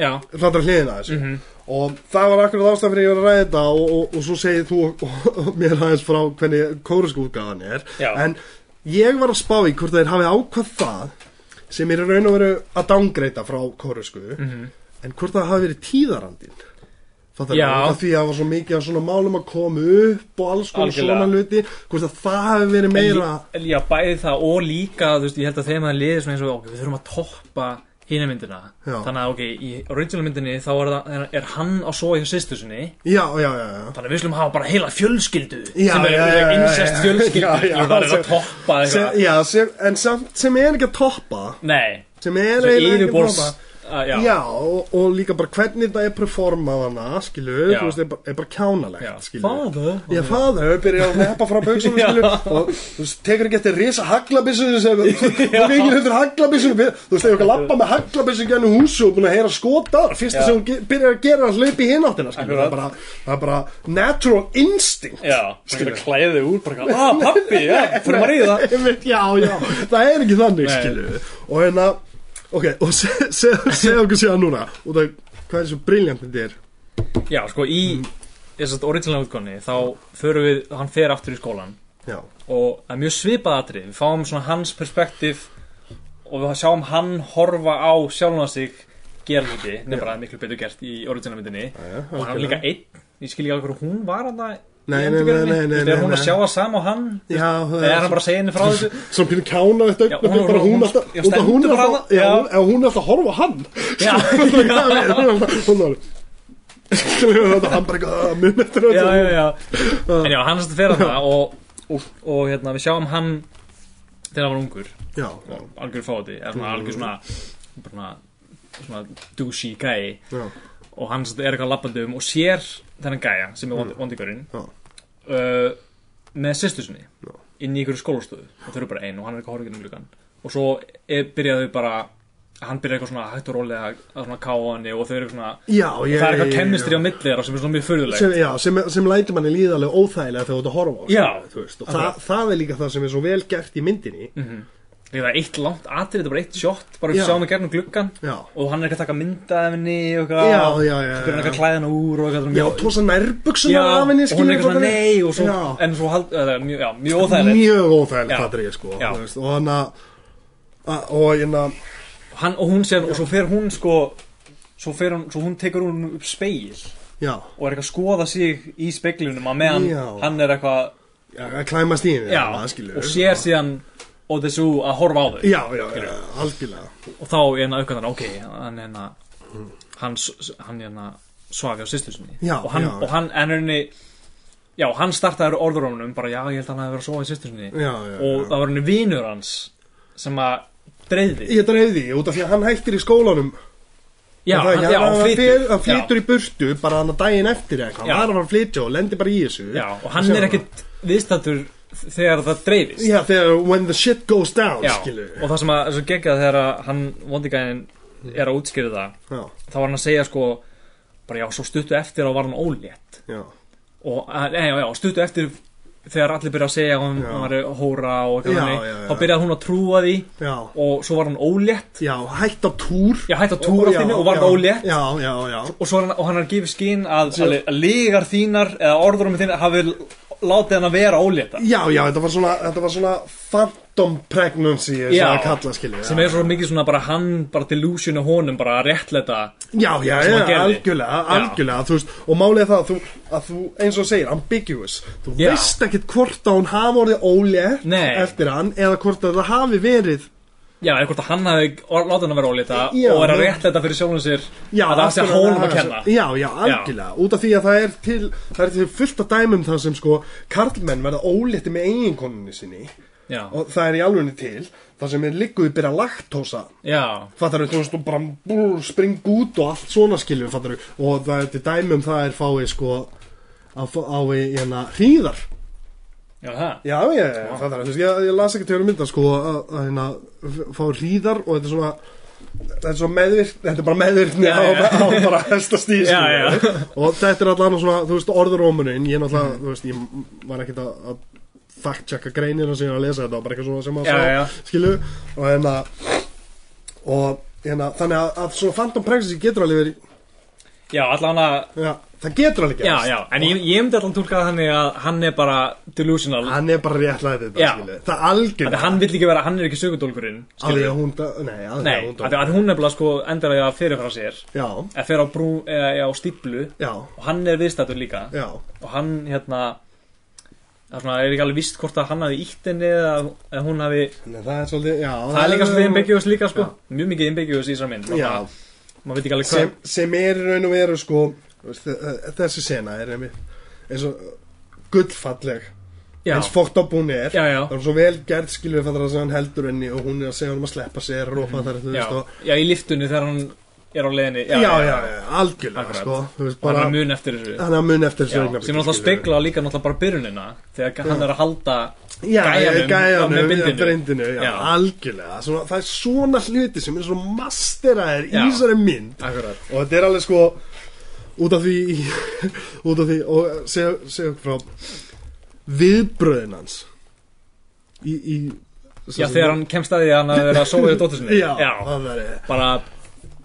Speaker 2: Já,
Speaker 1: hlandar hliðina þessu
Speaker 2: Mhm.
Speaker 1: og það var akkurat ástæðan fyrir ég var að ræða þetta og, og, og svo segir þú mér aðeins frá hvernig kóruskúkaðan er
Speaker 2: Já.
Speaker 1: en ég var að spá í hvort þeir hafi ákvað það sem er í raun og veru að dangreita frá kórusku
Speaker 2: Mhm.
Speaker 1: en hvort það hafi verið tíðarandin Fattar
Speaker 2: Já.
Speaker 1: þú? Út af því að það var svo mikið af svona málum að koma upp og alls konar
Speaker 2: Algjörlega.
Speaker 1: svona hluti hvort að það hafi verið meira
Speaker 2: En Já, bæði það og líka, þú veist, ég held að þeim að liði svona eins og ok, við þurfum að toppa hina myndina
Speaker 1: Já.
Speaker 2: Þannig að ok, í original myndinni þá er, það, er hann að sofa hjá sýstu sinni
Speaker 1: Já, já, já, já
Speaker 2: Þannig að við slum hafa bara heila fjölskyldu
Speaker 1: Já,
Speaker 2: sem er
Speaker 1: já, já, já, já.
Speaker 2: incest fjölskyldu
Speaker 1: Já, já,
Speaker 2: og það er
Speaker 1: sem-
Speaker 2: að toppa
Speaker 1: sem,
Speaker 2: eitthvað
Speaker 1: Já, sem, en samt sem er ekki að toppa
Speaker 2: Nei,
Speaker 1: sem er
Speaker 2: það er
Speaker 1: eiginlega ekki að
Speaker 2: yfirborðs
Speaker 1: toppa
Speaker 2: að- Já,
Speaker 1: Já, og, og líka bara hvernig þetta er performað hana, skilu,
Speaker 2: Já.
Speaker 1: þú veist, er bara, er bara kjánalegt,
Speaker 2: Já.
Speaker 1: skilu.
Speaker 2: Father.
Speaker 1: Já, father, byrjar að neppa frá bauksum,
Speaker 2: Já.
Speaker 1: skilu, og þú veist, tekur ekki eftir risa haglabissunum sem, þú veist, ekki eftir haglabissunum, þú veist, ef ekki að lappa með haglabissun gennum húsu og búin að heyra skotar, fyrsta
Speaker 2: Já.
Speaker 1: sem hún ge- byrjar að gera er að hlaupa í hináttina, skilu, það
Speaker 2: Akkurat.
Speaker 1: er bara, það er bara natural instinct.
Speaker 2: já, það er að klæða þig úr bara, að pappi, já, fyrir maður í það
Speaker 1: Einmitt, já, já, það er ekki þannig,
Speaker 2: Nei.
Speaker 1: skilu. Og hérna, ok, og segja se, se segðu okkur síðan núna, út af hvað er svo briljant þetta er.
Speaker 2: Já, sko, í þess að original útkonni þá förum við, hann fer aftur í skólan
Speaker 1: Já,
Speaker 2: og það er mjög svipað atrið við fáum svona hans perspektíf og við sjáum hann horfa á sjálfna sig gera hluti nefnir að það er miklu betur gert í original myndinni og hann er líka einn, ég skil ekki alveg hverju hún var að það
Speaker 1: Nei, nei, nei, nei, nei,
Speaker 2: er hún
Speaker 1: nei.
Speaker 2: að sjá það sama á hann
Speaker 1: já
Speaker 2: eða er hann bara að segja henni frá þessu
Speaker 1: Svo pínu kána þetta
Speaker 2: Já,
Speaker 1: augnablik,
Speaker 2: hún-
Speaker 1: bara hún
Speaker 2: hún- sko.
Speaker 1: alltaf
Speaker 2: já,
Speaker 1: út af hún er
Speaker 2: stendur
Speaker 1: alltaf
Speaker 2: bara-
Speaker 1: já,
Speaker 2: já.
Speaker 1: ef hún er alltaf að horfa á hann
Speaker 2: Já.
Speaker 1: Hún er alltaf- hún er alltaf hann bara eitthvað "Ah, að mun eftir
Speaker 2: já,
Speaker 1: þetta
Speaker 2: já, já. en já, hann sérst fer að það og, og, og hérna, við sjáum hann þegar hann var ungur
Speaker 1: já, já,
Speaker 2: algjör fóti eða svona algjör svona svona, svona douchey gæi
Speaker 1: já,
Speaker 2: og hann sem sagt er eitthvað lappandi um og sér þennan gæja sem er vondi- vondigurinn
Speaker 1: Já.
Speaker 2: uh, með sýstu sinni
Speaker 1: Já.
Speaker 2: inn í ykkur skólastöðu og þau eru bara ein og hann er eitthvað horfingin um gluggan og svo er, byrjaðu bara hann byrjaði eitthvað svona hægt og rólega að svona káa henni og þau eru svona
Speaker 1: já
Speaker 2: og
Speaker 1: ég,
Speaker 2: það er eitthvað
Speaker 1: ég-
Speaker 2: kemistri á milli þeirra sem er svona mjög furðulegt
Speaker 1: sem, já, sem, sem lætur manni líðarlega óþægilega þegar þú ert að horfa á
Speaker 2: Já.
Speaker 1: skilurðu, þú veist, og það, það er líka það sem er svo vel gert í myndinni
Speaker 2: Þegar það er eitt langt atrið, þetta er bara eitt shot bara við
Speaker 1: Já.
Speaker 2: sjáum við gegnum gluggan
Speaker 1: já,
Speaker 2: og hann er eitthvað að taka mynda af henni og
Speaker 1: Já,
Speaker 2: eitthvað
Speaker 1: já, já,
Speaker 2: svo byrjar hann
Speaker 1: já.
Speaker 2: eitthvað að klæða henni úr og eitthvað svona
Speaker 1: já,
Speaker 2: mjög-
Speaker 1: tósa
Speaker 2: Já,
Speaker 1: nærbuksunar af henni
Speaker 2: og hún er eitthvað
Speaker 1: skilurðu,
Speaker 2: svona nei og svo,
Speaker 1: Já.
Speaker 2: en svo hald, eða, mjög, já, mjög óþægilegt
Speaker 1: mjög óþægilegt
Speaker 2: Já.
Speaker 1: atriði sko,
Speaker 2: Já.
Speaker 1: þú veist, og hann að að- og hérna
Speaker 2: hann, og hún sér, og svo fer hún sko svo, fer hún, svo hún tekur hún upp speil og
Speaker 1: já,
Speaker 2: er eitthvað að skoða sig í speglunum að meðan
Speaker 1: Já.
Speaker 2: hann er eitthvað
Speaker 1: já, að klæmast í henni
Speaker 2: já,
Speaker 1: það skilur
Speaker 2: og sér síðan og þessu að horfa á þau
Speaker 1: já, já, já, algjörlega
Speaker 2: og þá er hann aukaðan, ok, hann er hann hann, s- hann er hann svafi á sýstur sinni
Speaker 1: Já,
Speaker 2: og hann,
Speaker 1: já.
Speaker 2: og hann en henni já, hann startaði orðurónum bara, já, ég held að hann hafi verið að sofa í sýstur sinni
Speaker 1: já, já,
Speaker 2: og
Speaker 1: já.
Speaker 2: það var henni vinur hans sem að dreifði
Speaker 1: ég dreif því út af því að hann hættir í skólanum Og
Speaker 2: já,
Speaker 1: það,
Speaker 2: hann, já,
Speaker 1: hann,
Speaker 2: hann
Speaker 1: fer,
Speaker 2: flytur
Speaker 1: hann flytur í burtu bara hann að daginn eftir eða eitthvað,
Speaker 2: Já.
Speaker 1: hann var að fara að flytja og lendir bara í þessu
Speaker 2: já, já, og hann er ekkit viðstættur þegar það dreifist
Speaker 1: já, þegar when the shit goes down
Speaker 2: Já,
Speaker 1: skilur
Speaker 2: og það sem að svo geggjað þegar að hann vondigæðin er að útskýra það
Speaker 1: já,
Speaker 2: þá var hann að segja sko bara já, svo stuttu eftir og var hann ólétt
Speaker 1: já,
Speaker 2: og, að- nei, já, já, stuttu eftir þegar allir byrja að segja að hann,
Speaker 1: Já.
Speaker 2: hann var hóra og eitthvað
Speaker 1: Já,
Speaker 2: þannig,
Speaker 1: já, já.
Speaker 2: þá byrjaði hún að trúa því
Speaker 1: já,
Speaker 2: og svo var hann ólétt
Speaker 1: já hætt á túr
Speaker 2: já, hætti að túra þínu og var
Speaker 1: já,
Speaker 2: ólétt
Speaker 1: já, já, já,
Speaker 2: og, svo, er hann- og hann er að gefa skín að, að, að lígar þínar eða orðurum þínar hafi látið hann að vera ólétta
Speaker 1: Já, já, þetta var svona, þetta var svona fant random pregnancy er svona
Speaker 2: Já.
Speaker 1: að kalla skilja
Speaker 2: sem er svo mikið svona bara hann bara delusion og honum bara að réttlæta
Speaker 1: Já, já,
Speaker 2: sem hann
Speaker 1: já,
Speaker 2: gerði.
Speaker 1: algjörlega, algjörlega þú veist, og málið er það að þú, að þú eins og þú segir, ambiguous þú
Speaker 2: Já.
Speaker 1: veist ekkert hvort að hún hafi orðið ólétt
Speaker 2: Nei.
Speaker 1: eftir hann eða hvort að það hafi verið
Speaker 2: já, eða hvort að hann hafi or- látið hann að vera ólita
Speaker 1: Já,
Speaker 2: og er
Speaker 1: já.
Speaker 2: að réttlæta fyrir sjálfum sér
Speaker 1: já,
Speaker 2: að það sé
Speaker 1: akkurat,
Speaker 2: honum að
Speaker 1: haga
Speaker 2: kenna
Speaker 1: sér. Já, já, algjörlega, út af því að það er til það er til fullt af dæmum þar sem sko karlmenn verða ólétti með eiginkonunni sinni
Speaker 2: já,
Speaker 1: og það er í alvegni til þar sem er ligguði byrja laktósa
Speaker 2: já,
Speaker 1: fattar þú veist, og bara brr, spring út og allt svona skilur, fattar þú og það er til dæmum það er fáið sko að fá- ái hérna hríðar
Speaker 2: já, það
Speaker 1: já, ég,
Speaker 2: Sko.
Speaker 1: fattar þú veist, ég, ég las ekki til að mynda sko að, að hérna f- fá hríðar og þetta er svona þetta er svona meðvirk, þetta er bara meðvirkni
Speaker 2: Já,
Speaker 1: á,
Speaker 2: já.
Speaker 1: á bara hestastíð
Speaker 2: Já, já. Mm.
Speaker 1: skilurðu. og þetta er allan svona, þú veist, orðurómunin ég náttúrulega, þú veist, ég var ekkert að, að fact checka greinina sem ég var að lesa þetta og bara eitthvað svona sem að
Speaker 2: Já,
Speaker 1: sá,
Speaker 2: já.
Speaker 1: skilu og hérna og hérna, þannig að, að svona Phantom Pregnancy getur alveg verið
Speaker 2: já, allan að
Speaker 1: já, það getur alveg
Speaker 2: já,
Speaker 1: gerst
Speaker 2: já, en ég, ég myndi allan tólka það þannig að hann er bara delusional
Speaker 1: hann er bara réttlæðið þetta,
Speaker 2: Já.
Speaker 1: skilu það algjörlega,
Speaker 2: Þannig að hann vill ekki vera, hann er ekki sögundólkurinn
Speaker 1: að því
Speaker 2: skilurðu.
Speaker 1: að hún da- nei, að því
Speaker 2: Nei,
Speaker 1: að hún
Speaker 2: af því
Speaker 1: dó.
Speaker 2: að hún nefnilega sko endar að ég að fyrirfara sér
Speaker 1: já,
Speaker 2: að fyrir á brú, eða eða á stíplu
Speaker 1: já,
Speaker 2: og hann er viðstættur líka
Speaker 1: já
Speaker 2: og hann hérna það er svona, er ekki alveg vist hvort að hann hafi ítt henni eða, eða hún hafi
Speaker 1: Nei, það er svolítið, já
Speaker 2: það er líka svolítið imbegjus líka sko mjög mikið imbegjus í þessar mynd
Speaker 1: Já.
Speaker 2: Bara- maður veit ekki alveg
Speaker 1: sem,
Speaker 2: hvað
Speaker 1: sem er í raun og veru sko þú veist, þe- þessi sena er einmitt eins og gullfalleg
Speaker 2: já,
Speaker 1: eins fókt á búni er
Speaker 2: já, já,
Speaker 1: það er svo vel gerð skilur fattar það sem hann heldur henni og hún er að segja hann að sleppa sér og fattar þú
Speaker 2: Mhm. já,
Speaker 1: veist og
Speaker 2: já, í liftunni þegar hann er á leiðinni
Speaker 1: já, já, já, algjörlega
Speaker 2: Akkurat.
Speaker 1: sko þú veist
Speaker 2: og hann
Speaker 1: bara
Speaker 2: er að muna eftir þessu
Speaker 1: hann er að mun eftir
Speaker 2: Já,
Speaker 1: þessu
Speaker 2: sem
Speaker 1: augnablik,
Speaker 2: náttúrulega
Speaker 1: skilurðu.
Speaker 2: spegla líka náttúrulega bara byrjunina þegar hann er að halda
Speaker 1: Já,
Speaker 2: gæjanum,
Speaker 1: gæjanum
Speaker 2: með
Speaker 1: með
Speaker 2: bindinu.
Speaker 1: bindinu já,
Speaker 2: Já.
Speaker 1: algjörlega svona, það er svona hluti sem er svona masteraðir í
Speaker 2: Já.
Speaker 1: þessari mynd
Speaker 2: akkurat
Speaker 1: og þetta er alveg sko út af því út af því og segja segja okkur frá viðbröðin hans í, í
Speaker 2: já, þegar hann kemst að því að hann hafi verið að sofa í dóttur sinni
Speaker 1: já, það er
Speaker 2: bara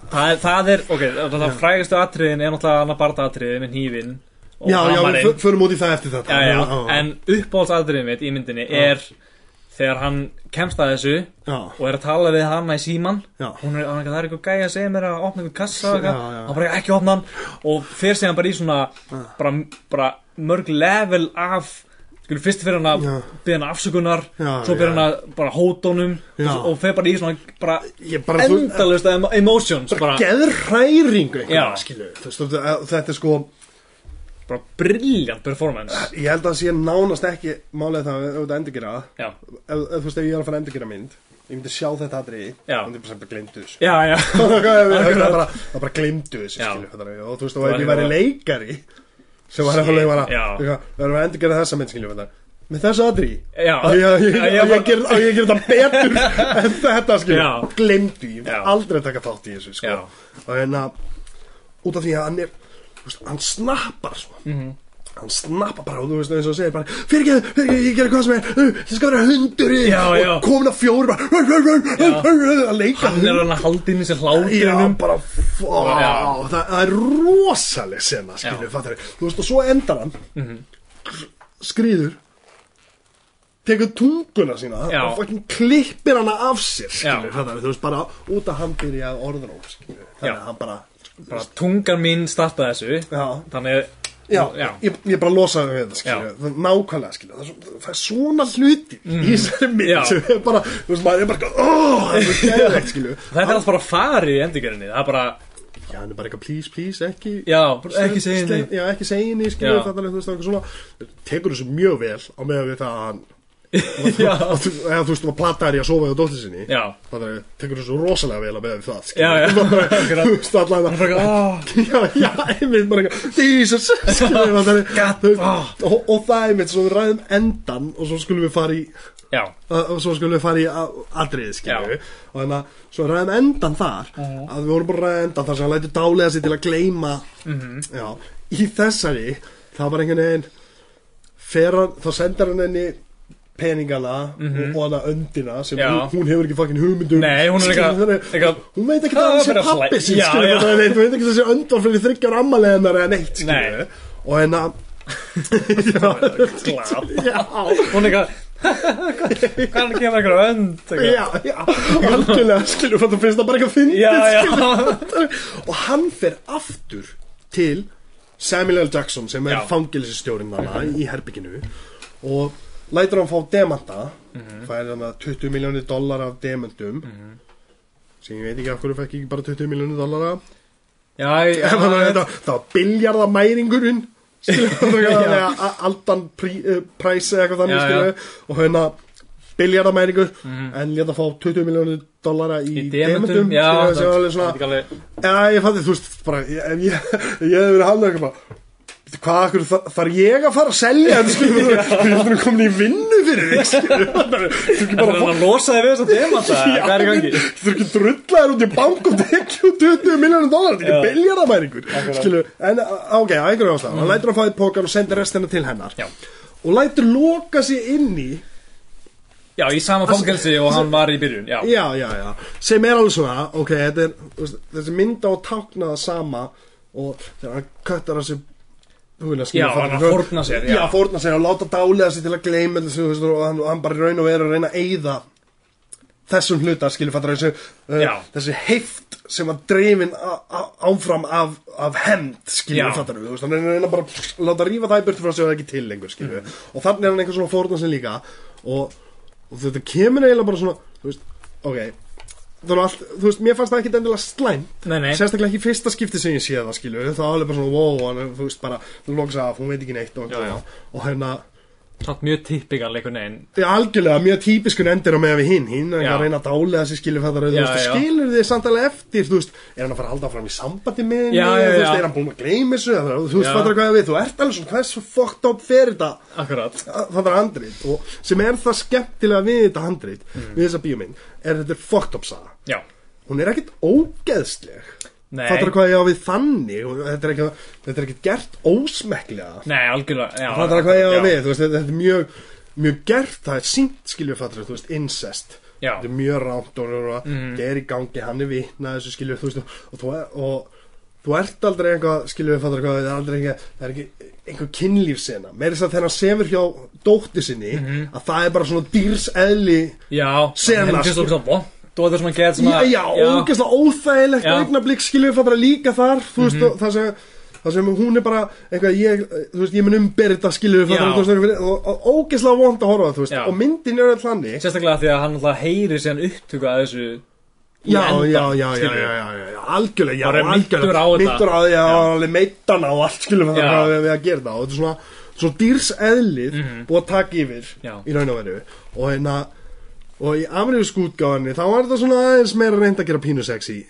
Speaker 2: það er, það er ok, það, það frægastu atriðin er náttúrulega annar barda atriðin með hnífin og
Speaker 1: já, já, við
Speaker 2: hamarinn.
Speaker 1: fö- förum út í það eftir þetta
Speaker 2: já, já, en uppáhaldsatriðin mitt í myndinni er þegar hann kemst að þessu
Speaker 1: já,
Speaker 2: og er að tala við hana í síman
Speaker 1: já,
Speaker 2: hún er, hann, er eitthvað, það er eitthvað gæja að segja mér að opna einhver kassa og
Speaker 1: Já,
Speaker 2: eitthvað,
Speaker 1: já.
Speaker 2: hann bara ekki opna hann og fyrir sig hann bara í svona bara, bara mörg level af skulum fyrst fyrir hann að
Speaker 1: Já.
Speaker 2: byrja hann afsökunar
Speaker 1: Já,
Speaker 2: svo
Speaker 1: já.
Speaker 2: byrja hann að bara hótonum
Speaker 1: Já.
Speaker 2: og, og fyrir bara í svona bara
Speaker 1: ég bara þú-
Speaker 2: endalust em emotions bara,
Speaker 1: geðhræringu
Speaker 2: Já.
Speaker 1: einhvern, skilu, þú veist, þú- að- þetta er sko
Speaker 2: bara brilljant performance
Speaker 1: ég held að það sé nánast ekki málega það ef þú ert að endurgera ef,
Speaker 2: já,
Speaker 1: ef þú veist, ef ég er að fara að endurgera mynd ég myndi sjá þetta atriði
Speaker 2: Já.
Speaker 1: myndi bara sem bara glemdu þessu
Speaker 2: já, já
Speaker 1: það er bara, það bara glimtu þessu
Speaker 2: Já.
Speaker 1: skilur, fattar við. og þú veist, og ef
Speaker 2: var
Speaker 1: ég væri
Speaker 2: eitthvað-
Speaker 1: leikari sem var alveg bara
Speaker 2: Já.
Speaker 1: eitthvað, við erum að endurgera þessa mynd skilur, fattar við. með þessu aðri
Speaker 2: Já.
Speaker 1: og ég, ég,
Speaker 2: Já,
Speaker 1: ég,
Speaker 2: ég
Speaker 1: ég,
Speaker 2: bara-
Speaker 1: ger- á ég ger þetta betur en þetta skilur,
Speaker 2: Já.
Speaker 1: glimtu ég
Speaker 2: Já.
Speaker 1: myndi aldrei taka þátt í þessu sko.
Speaker 2: Já.
Speaker 1: og hérna, út af því að hann er þú veist, hann snappar svo
Speaker 2: Mhm.
Speaker 1: hann snappa bara og þú veist eins og segir bara fyrirgeðu, fyrirgeðu, ég gerði hvað sem er uh, ég skal vera hundur í
Speaker 2: Já, já.
Speaker 1: og komin að fjóri bara rr, rr, rr, rr, rr, að leika
Speaker 2: hann er hann að halda inn í sér
Speaker 1: Já,
Speaker 2: hlátunum
Speaker 1: bara,
Speaker 2: Já.
Speaker 1: fá, það, það er rosaleg sena, skilju,
Speaker 2: Já. Mhm.
Speaker 1: fattar ég. Þú veist, og svo endar hann, skrýður, tekur tunguna sína
Speaker 2: Já.
Speaker 1: og fucking klippir hana af sér, skilju,
Speaker 2: Já.
Speaker 1: fattar ég. Þú veist, bara út að hann byrja að orðróm, skilju. Þannig
Speaker 2: Já.
Speaker 1: að hann bara,
Speaker 2: bara tungan mín starta þessu
Speaker 1: Já.
Speaker 2: þannig,
Speaker 1: já,
Speaker 2: Já.
Speaker 1: Ég, ég bara losaði við þetta, skilju,
Speaker 2: Já. Mhm.
Speaker 1: Það- nákvæmlega, skilju. Það, er svo- það er svona hluti í þessari
Speaker 2: Já.
Speaker 1: mynd sem er bara, þú veist, maður er bara, oh, það er svo geðvegt, skilju.
Speaker 2: þetta er alltaf bara farið í endurgerinni það er bara,
Speaker 1: Já, hann er bara eitthvað, please, please, ekki,
Speaker 2: já, ekki segja henni
Speaker 1: Slepp- já, ekki seginni,
Speaker 2: Já.
Speaker 1: skilur þetta alveg, þú veist, það er eitthvað svona tekur þessu mjög vel á meðan við það að hann
Speaker 2: Já.
Speaker 1: að þú- eða þú veist, þú var platar í að sofa hjá dóttir sinni
Speaker 2: Já.
Speaker 1: það er, tekur þessu rosalega vel á meðan við það
Speaker 2: Já, já.
Speaker 1: skilur, þú veist, allan
Speaker 2: er bara, "Ah."
Speaker 1: já, já, einmitt bara eitthvað, Jesus, skilur það er,
Speaker 2: God,
Speaker 1: þú veist,
Speaker 2: ah.
Speaker 1: og, og það einmitt, svo við ræðum endan og svo skulum við fara í
Speaker 2: Já,
Speaker 1: og og svo skulum við fara í a- atriðið skilju
Speaker 2: Já. Mhm.
Speaker 1: og þannig að svo ræðum endan þar að við vorum bara að ræða endan þar sem hann lætur dálega sér til að gleyma
Speaker 2: Mhm.
Speaker 1: já, í þessari það var einhvern veginn fer hann, þá sendar hann henni peningana og, og hana öndina sem
Speaker 2: Mhm. Já.
Speaker 1: hún, hún hefur ekki fucking hugmyndum
Speaker 2: Nei, hún er eitthvað- eitthvað-
Speaker 1: hún veit ekki að
Speaker 2: Það var
Speaker 1: hann sé
Speaker 2: bara að
Speaker 1: pappi
Speaker 2: slæ-
Speaker 1: sín
Speaker 2: Já,
Speaker 1: skilju,
Speaker 2: já.
Speaker 1: þannig að hún veit ekki að þessi önd var fyrir þryggjar ammaliðanar eða neitt hérna, skilju
Speaker 2: Nei.
Speaker 1: og hennar
Speaker 2: glad
Speaker 1: já,
Speaker 2: Hún er eitthvað, Hvað er að gefa einhverja önd? eitthvað?
Speaker 1: Já, já, algjörlega, skilur, þú finnst það bara eitthvað fyndið,
Speaker 2: Já, já.
Speaker 1: skilur. Og hann fer aftur til Samuel L. Jackson sem er
Speaker 2: Já.
Speaker 1: fangilsistjórinn þarna í herbygginu og lætur hann fá demanta,
Speaker 2: Mhm.
Speaker 1: það er þannig 20 miljónir dólar af demantum, sem ég veit ekki af hverju fekk ekki bara 20 miljónir dólar af.
Speaker 2: Já, já,
Speaker 1: Þannig að þetta- það var biljarðamæringurinn
Speaker 2: Já.
Speaker 1: hérna Aldan prí- eh, Price eða eitthvað þannig
Speaker 2: Já, Mhm.
Speaker 1: skilur og hérna biljarðamæringur en leta fá 20 miljónir dollara í,
Speaker 2: í
Speaker 1: í
Speaker 2: demantum
Speaker 1: demantum
Speaker 2: Já,
Speaker 1: skilur, sem var alveg
Speaker 2: það- þetta er
Speaker 1: svona,
Speaker 2: ekki alveg-
Speaker 1: já ég fann þið þú veist bara, ég, ef ég, ég hefði verið hann eitthvað bara, "Bíddu, hvað akkur þar- þarf ég að fara að selja þetta skilur þú veist, þú erum komin í vinnu fyrir þig skilur þú er ekki
Speaker 2: Það
Speaker 1: bara
Speaker 2: er
Speaker 1: að
Speaker 2: hann að losa þig við þess að demanta Hvað er í gangi?
Speaker 1: Þú er ekki drullaður út í bank og tekju 20 miljónum dólar, þetta er
Speaker 2: Já.
Speaker 1: ekki biljaramæringur Skilu, en á, ok, á einhverju ástæð Hann lætur að fá í pókan og sendir restina til hennar
Speaker 2: Já.
Speaker 1: Og lætur loka sér inn í
Speaker 2: Já, í sama fangelsi og hann var í byrjun Já,
Speaker 1: Já, já, já, sem er alveg svona Ok, þetta er, þú veist, þessi mynda og tákna það sama Og þegar hann köttar þessu huguna, skilur,
Speaker 2: Já, hann er að
Speaker 1: fattar-
Speaker 2: fórna sér,
Speaker 1: Já,
Speaker 2: já.
Speaker 1: fórna sér og láta dálega sér til að gleyma þessu þú veist, Og hann, og hann bara í raun og veru að reyna að eyða þessum hluta skilur fattur þessu, uh,
Speaker 2: Já.
Speaker 1: þessi heift sem var dreifin á- á- áfram af, af hend skilur
Speaker 2: Já.
Speaker 1: fattur við, hann er að reyna bara að láta rífa það í burtu frá sig og það er ekki til lengur skilur
Speaker 2: Mm.
Speaker 1: og þannig er hann einhver svona fórna sem líka og, og þetta kemur eiginlega bara svona þú veist, ok það var allt, þú veist, mér fannst það ekki endilega slæmt
Speaker 2: nei, nei
Speaker 1: sérstaklega ekki í fyrsta skipti sem ég sé það skilur það var alveg bara svona wow, hann, er, þú veist bara loks af, hún veit ekki neitt og,
Speaker 2: Já, já.
Speaker 1: og hérna
Speaker 2: Samt mjög typical einhvern veginn
Speaker 1: Það er algjörlega mjög típiskun endir á meðan við hinn hinn er ekki
Speaker 2: Já.
Speaker 1: að reyna að dálega þessi skilur þetta þú
Speaker 2: Já,
Speaker 1: veist,
Speaker 2: já.
Speaker 1: skilur þið samt alveg eftir þú veist, er hann að fara að halda fram í sambandi með henni,
Speaker 2: Já, já,
Speaker 1: þú veist,
Speaker 2: já.
Speaker 1: er hann búin að gleyma þessu eða þú veist,
Speaker 2: Já.
Speaker 1: fattar hvað ég við, þú ert alveg svona hversu fucked up fer þetta
Speaker 2: Akkurat
Speaker 1: það er handrið og sem er það skemmtilega við þetta handrið
Speaker 2: Mm.
Speaker 1: við þessa bíómynd, er þetta er fucked up saga
Speaker 2: Já
Speaker 1: hún er ekkert ógeðsleg
Speaker 2: Nei.
Speaker 1: fattar hvað ég á við þannig og þetta er ekkert, þetta er ekkert gert ósmekklega
Speaker 2: Nei, algjörlega já,
Speaker 1: fattar hvað ég á
Speaker 2: já.
Speaker 1: við þú veist, þetta þetta er mjög, mjög gert það er sínt skilur fattar þú veist, incest
Speaker 2: Já. Mhm.
Speaker 1: þetta er mjög rámt og mm. er í gangi, hann er vitna þessu skilur þú veist, og þú, og, þú ert aldrei eitthvað, skilur fattar hvað það er aldrei eitthvað, það er ekki einhver kynlífsena, meira þess að þegar hann sefur hjá dótti sinni,
Speaker 2: Mhm.
Speaker 1: að það er bara svona dýrs eðli
Speaker 2: Já
Speaker 1: Sena,
Speaker 2: Henni finnst
Speaker 1: sko.
Speaker 2: þú svona vond Þú veist svona get sem
Speaker 1: Já,
Speaker 2: að
Speaker 1: já, ógeðslega óþægilegt
Speaker 2: Já. Mhm.
Speaker 1: augnablik skilur við fattar líka þar þú veist, og það sem það sem hún er bara eitthvað, ég, þú veist, ég mun umberða skilur við
Speaker 2: Já.
Speaker 1: fattar þú veist, eitthvað fyrir- og, og ógeðslega vond að horfa á það, þú veist,
Speaker 2: Já.
Speaker 1: og myndin er alltaf hannig
Speaker 2: Sérstaklega því að hann alltaf heyri síðan upptöku að þessu í
Speaker 1: já, já,
Speaker 2: endann,
Speaker 1: já, já,
Speaker 2: skilurðu.
Speaker 1: já, já, já, já, algjörlega, já,
Speaker 2: Bara er
Speaker 1: algjörlega
Speaker 2: mintur á þetta.
Speaker 1: Mintur á þetta, já,
Speaker 2: Já.
Speaker 1: alveg meitana og allt skilur við
Speaker 2: Já.
Speaker 1: fattar við, við að gera það og þetta er svona, svo dýrs eðlið búið að taka yfir
Speaker 2: Mhm. Já.
Speaker 1: í raun og veru og hérna og í amerísku útgáðanni þá var þetta svona aðeins meira reynd að gera pínu sexy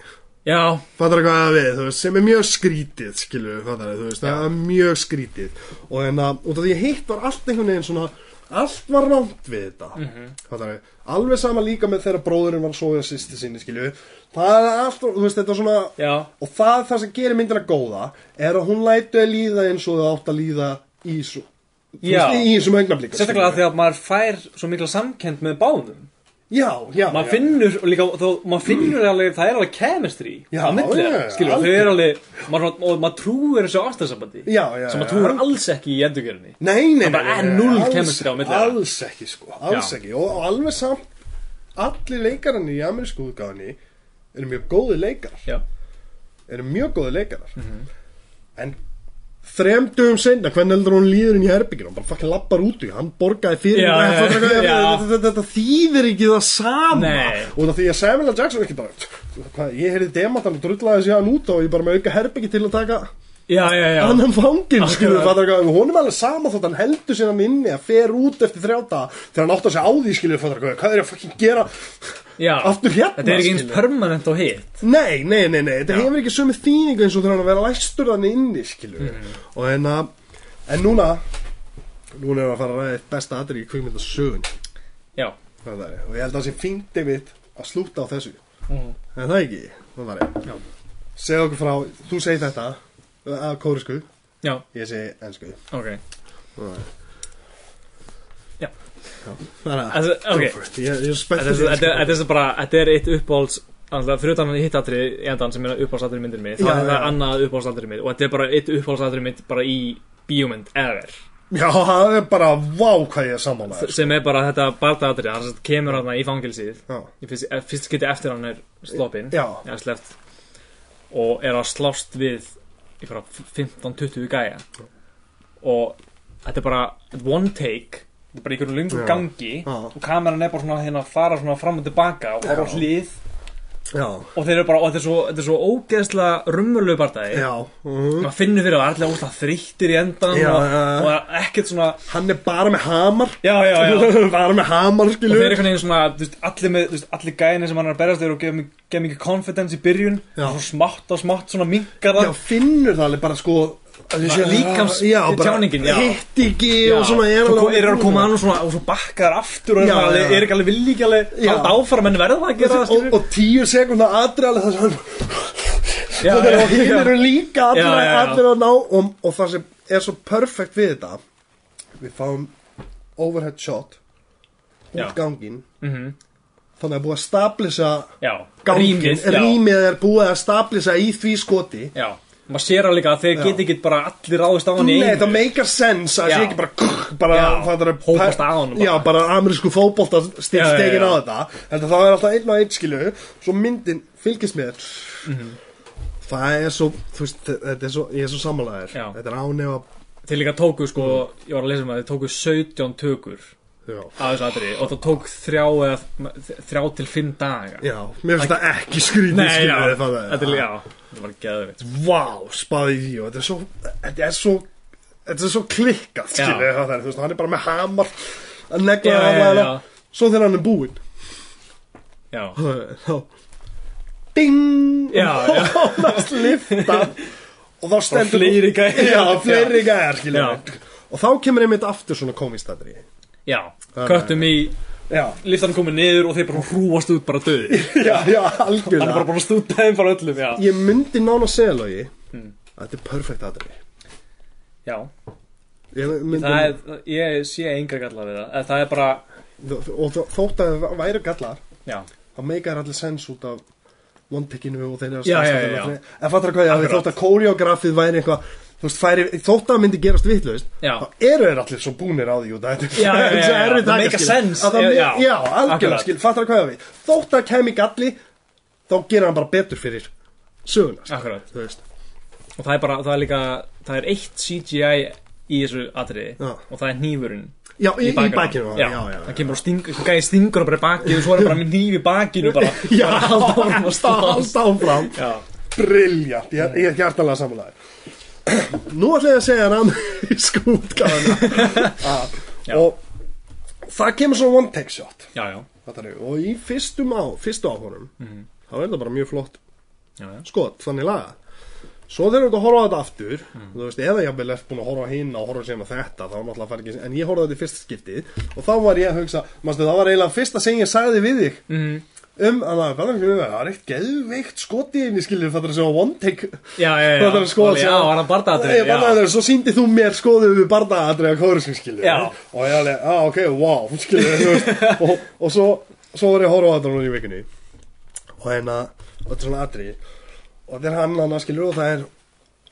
Speaker 2: Já,
Speaker 1: fattar hvað að við, þú veist, sem er mjög skrítið skilu, fattar þú veist, það er mjög skrítið og en að, út af því að hitt var allt einhvern veginn svona, allt var rámt við þetta, mm
Speaker 2: Mhm.
Speaker 1: fattar við alveg sama líka með þegar bróðurinn var að sofa á sýsti sinni, skilu, það er allt þú veist, þetta er svona,
Speaker 2: já
Speaker 1: og það það sem gerir myndina góða, er að hún lætu að líða eins og það átt að líða í svo, þú
Speaker 2: Já.
Speaker 1: veist, í þessum augnablika
Speaker 2: Sérstaklega því að maður fær svo mikla samkend með báðum
Speaker 1: já, já,
Speaker 3: maður
Speaker 1: já.
Speaker 3: finnur og líka, þó, maður finnur alveg, það er alveg chemistry
Speaker 1: Já,
Speaker 3: á milli,
Speaker 1: já, já,
Speaker 3: skilur, þau
Speaker 1: algjörlega.
Speaker 3: eru alveg maður, og maður trúir þessu ástarsambandi
Speaker 1: já, já,
Speaker 3: sem maður
Speaker 1: já.
Speaker 3: trúir alls ekki í endurgerðinni
Speaker 1: Nei, nei, nei,
Speaker 3: bara
Speaker 1: nei,
Speaker 3: er
Speaker 1: nei,
Speaker 3: null
Speaker 1: alls-
Speaker 3: chemistry á milli þeirra.
Speaker 1: Alls ekki, sko, alls
Speaker 3: Já.
Speaker 1: ekki og, og alveg samt allir leikararnir í amerísku útgáðinni eru mjög góði leikarar
Speaker 3: Já.
Speaker 1: eru mjög góði leikarar
Speaker 3: Mhm.
Speaker 1: en þrem dögum seinna hvernig heldur hún líður inn í herbygginu hann bara fucking lappar út í, hann borgaði fyrir
Speaker 2: Já,
Speaker 1: hann,
Speaker 2: já,
Speaker 1: fattar hvað ég-
Speaker 2: já.
Speaker 1: þetta, þetta, þetta þýðir ekki það sama
Speaker 2: Nei.
Speaker 1: og það því að Samuel L. Jackson ekki bara hvað, ég heyrði demantan og drullaði sér hann út og ég bara með auka herbyggi til að taka
Speaker 2: Já, já, já
Speaker 1: annan fanginn skilur
Speaker 2: Akkurat.
Speaker 1: fattar hvað hún er alveg sama þótt hann heldur sér hann inni að fer út eftir þrjáta þegar hann átt að segja á því skilur fattar hvað hvað er ég að fucking gera
Speaker 2: Já.
Speaker 1: aftur hérna
Speaker 2: Þetta er ekki eins
Speaker 1: skilur.
Speaker 2: permanent og hitt
Speaker 1: nei, nei, nei, nei, þetta hefur ekki sömu þýningu eins og þegar hann er að vera læstur þannig inni skilur
Speaker 2: Mm-hmm.
Speaker 1: og en að en núna núna er að fara að ræða eitt besta aðri í kvikmyndasögun
Speaker 2: Já,
Speaker 1: og ég held að það sé fíndi mitt að slúta á þessu en það ekki, það var ég
Speaker 2: Já.
Speaker 1: segð okkur frá, þú segir þetta að kórisku,
Speaker 2: já,
Speaker 1: ég segi ennsku
Speaker 2: ok Já.
Speaker 1: Þannig að
Speaker 2: Þetta, okay.
Speaker 1: Go for it. Ég ég er spennt
Speaker 2: þetta, er- þetta, er- þetta er bara, þetta er eitt uppáhalds Alltaf, fyrir utan hittatrið í endan sem er uppáhaldsatrið myndir mitt, þá
Speaker 1: Já, já,
Speaker 2: er þetta
Speaker 1: já.
Speaker 2: annað uppáhaldsatrið mitt og þetta er bara eitt uppáhaldsatrið mitt bara í bíómynd ever
Speaker 1: Já, það er bara vá hvað ég er sammálaður
Speaker 2: sem er bara þetta bardaðatrið hann sem sagt kemur hann í fangilsið
Speaker 1: Já,
Speaker 2: í fyrst, eh, fyrst geti eftir hann er sloppinn
Speaker 1: já,
Speaker 2: eða sleppt og er að slást við ykkur 15-20 gæja og þetta er bara þetta er one take þetta er bara ykkur lungum
Speaker 1: Já.
Speaker 2: gangi
Speaker 1: Já.
Speaker 2: og kameran er bara svona hérna að fara svona fram og tilbaka og horfa á hlið
Speaker 1: já,
Speaker 2: og þeir eru bara, og þetta er svo, þetta er svo ógeðslega rummurlegu bardagi
Speaker 1: já mhm.
Speaker 2: maður finnur fyrir að það er allir ógeðslega þrýttir í
Speaker 1: Já,
Speaker 2: endan og,
Speaker 1: já, já.
Speaker 2: og það er ekkert svona
Speaker 1: Hann er bara með hamar
Speaker 2: já, já, já
Speaker 1: Bara með hamar,
Speaker 2: og
Speaker 1: skilur
Speaker 2: þeir eru einhvern veginn svona, þú veist, allir, með, þú veist, allir gæðinni sem hann er að berast þeir eru að gefa mikið- gefa mikið confidence í byrjun
Speaker 1: Já.
Speaker 2: og svo smátt og smátt svona minkar það
Speaker 1: Já, finnur það alveg bara sko að ég sé-
Speaker 2: Líkams-
Speaker 1: Já, bara
Speaker 2: tjáningin, já.
Speaker 1: Hitt ekki og svona er
Speaker 2: svo
Speaker 1: alveg
Speaker 2: er að koma að og svona og svo bakka þær aftur og
Speaker 1: Já,
Speaker 2: já, alveg,
Speaker 1: já.
Speaker 2: er ekki alveg vilji ekki alveg
Speaker 1: Já.
Speaker 2: halda áfram en verða það að gera það
Speaker 1: og, og tíu sekundar aðri alveg þess að
Speaker 2: já,
Speaker 1: Þannig að hinn
Speaker 2: já,
Speaker 1: eru líka allir,
Speaker 2: Já, já, já.
Speaker 1: allir að ná og, og það sem er svo perfekt við þetta Við fáum overhead shot út
Speaker 2: Já.
Speaker 1: ganginn
Speaker 2: Mhm.
Speaker 1: Þannig að búið að stablisa
Speaker 2: já,
Speaker 1: ganginn
Speaker 2: rýmið, já,
Speaker 1: Rýmið er búið að stablisa í því skoti
Speaker 2: já maður sér alveg að þeir
Speaker 1: Já.
Speaker 2: geti ekki bara allir ráðist á hann í
Speaker 1: Nei,
Speaker 2: einu
Speaker 1: það make a sense að
Speaker 2: Já.
Speaker 1: það sé ekki bara krr, bara,
Speaker 2: Já,
Speaker 1: það er að-
Speaker 2: hópast að honum bara.
Speaker 1: Já, bara amerísku fótbolta
Speaker 2: Já, já,
Speaker 1: stegin
Speaker 2: já.
Speaker 1: á þetta Þetta það er alltaf einn og einn skilju Svo myndin fylgist með
Speaker 2: Mhm.
Speaker 1: Það er svo, þú veist, þetta er svo, ég er svo sammálaðir
Speaker 2: Já.
Speaker 1: Þetta er ánefa
Speaker 2: þeir líka tóku sko,
Speaker 1: Mm.
Speaker 2: ég var að lesa um að þeir tóku 17 tökur
Speaker 1: Já,
Speaker 2: af þessu aðri og það tók þrjá, eða, þrjá til 5 daga
Speaker 1: já mér finnst það ekki skrítið
Speaker 2: Nei, já,
Speaker 1: skilju
Speaker 2: þetta er, já, þetta var geðvitt
Speaker 1: Vá, spaði í því og þetta er svo, þetta er svo Þetta er svo klikkað skilju
Speaker 2: Já.
Speaker 1: það er, þú veist, hann er bara með hamar að negla
Speaker 2: Já, já,
Speaker 1: hamar
Speaker 2: já.
Speaker 1: Svo þegar hann er búinn
Speaker 2: Já,
Speaker 1: þá ding
Speaker 2: Já, já.
Speaker 1: og nánast lifta og þá
Speaker 2: og
Speaker 1: stendur
Speaker 2: fleiri gæði
Speaker 1: já, fleiri gæjar skilur
Speaker 2: Já.
Speaker 1: við. og þá kemur einmitt aftur svona komistadri
Speaker 2: Já, köttum í
Speaker 1: já,
Speaker 2: liftan komið niður og þeir bara hrúast út bara döði
Speaker 1: já, já,
Speaker 3: Hann er bara
Speaker 1: algjörlega
Speaker 3: búin að stúta þeim bara öllum, já
Speaker 1: ég myndi nána segja logi að þetta er perfect aðri
Speaker 2: Já,
Speaker 1: ég myndi
Speaker 2: það er, ég sé enga galla við það eða Það er bara,
Speaker 1: og þó- þótt að það væri gallar
Speaker 2: já,
Speaker 1: þá meikar allir sens út af one-tickinu og þeirra
Speaker 2: Já, já, já, já.
Speaker 1: en fattar hvað ég að þótt að koreografið væri eitthvað þú veist, færi, þótt að myndi gerast vitlaust
Speaker 2: Já.
Speaker 1: þá eru þeir allir svo búnir á því og það
Speaker 2: Já, já, já,
Speaker 1: er
Speaker 2: já,
Speaker 1: svo
Speaker 2: já.
Speaker 1: erfitt
Speaker 2: Það
Speaker 1: að
Speaker 2: make a
Speaker 1: skilja.
Speaker 2: sense.
Speaker 1: Að það
Speaker 2: Já,
Speaker 1: me-
Speaker 2: já.
Speaker 1: já, algjörlega,
Speaker 2: Akkurat.
Speaker 1: skil, fattar hvað ég að við þótt að kemi galli þá gerir hann bara betur fyrir söguna skil,
Speaker 2: akkurat
Speaker 1: þú veist,
Speaker 2: Og það er bara, það er líka, það er eitt CGI í þessu atriði
Speaker 1: Já.
Speaker 2: og það er hnífurinn
Speaker 1: já, í, í
Speaker 2: bakinu.
Speaker 1: bakinu
Speaker 2: já, það kemur og stingur, eitthvað gæði stingur og bara í bakið og svo er hann bara með hníf í bakinu bara,
Speaker 1: já,
Speaker 2: halda áfram að
Speaker 1: alltaf
Speaker 2: slást.
Speaker 1: áfram
Speaker 2: já,
Speaker 1: briljant, ég, ég er hjartalega samanlega nú ætla ég að segja hann í skútgáðuna
Speaker 2: Já.
Speaker 1: og það kemur svona one take shot
Speaker 2: já, já,
Speaker 1: fattari, og í fyrstum á, fyrstu áhórum
Speaker 2: Mhm.
Speaker 1: þá er það bara mjög flott
Speaker 2: já, já.
Speaker 1: skot, þannig laga svo þegar þú ert að horfa á þetta aftur
Speaker 2: Hmm.
Speaker 1: þú veist, eða ég hafði lefst búin að horfa á hinn og horfa síðan á þetta, þá er náttúrulega fær ekki en ég horfa þetta í fyrsta skiptið og þá var ég að hugsa manstu, það var eiginlega fyrsta sem ég sagði við þig
Speaker 2: Mhm.
Speaker 1: um að það fattar ekki, það er eitt geðveikt skotið inn í skilur, fattar það sem var one take
Speaker 2: Já, já, já,
Speaker 1: Það er að skoða
Speaker 2: Alveg, já, var hann bardaðatrið
Speaker 1: Nei, bardaðatrið, svo síndi þú mér skoðum við bardaðatrið að kóru sem skilur
Speaker 2: Já.
Speaker 1: Og ég alveg, á ok, wow, skilur þú veist Og, og svo, svo var ég að horfa á þetta núna í vikunni Og hérna, þetta er svona atrið Og þetta er hann, hann skilur og það er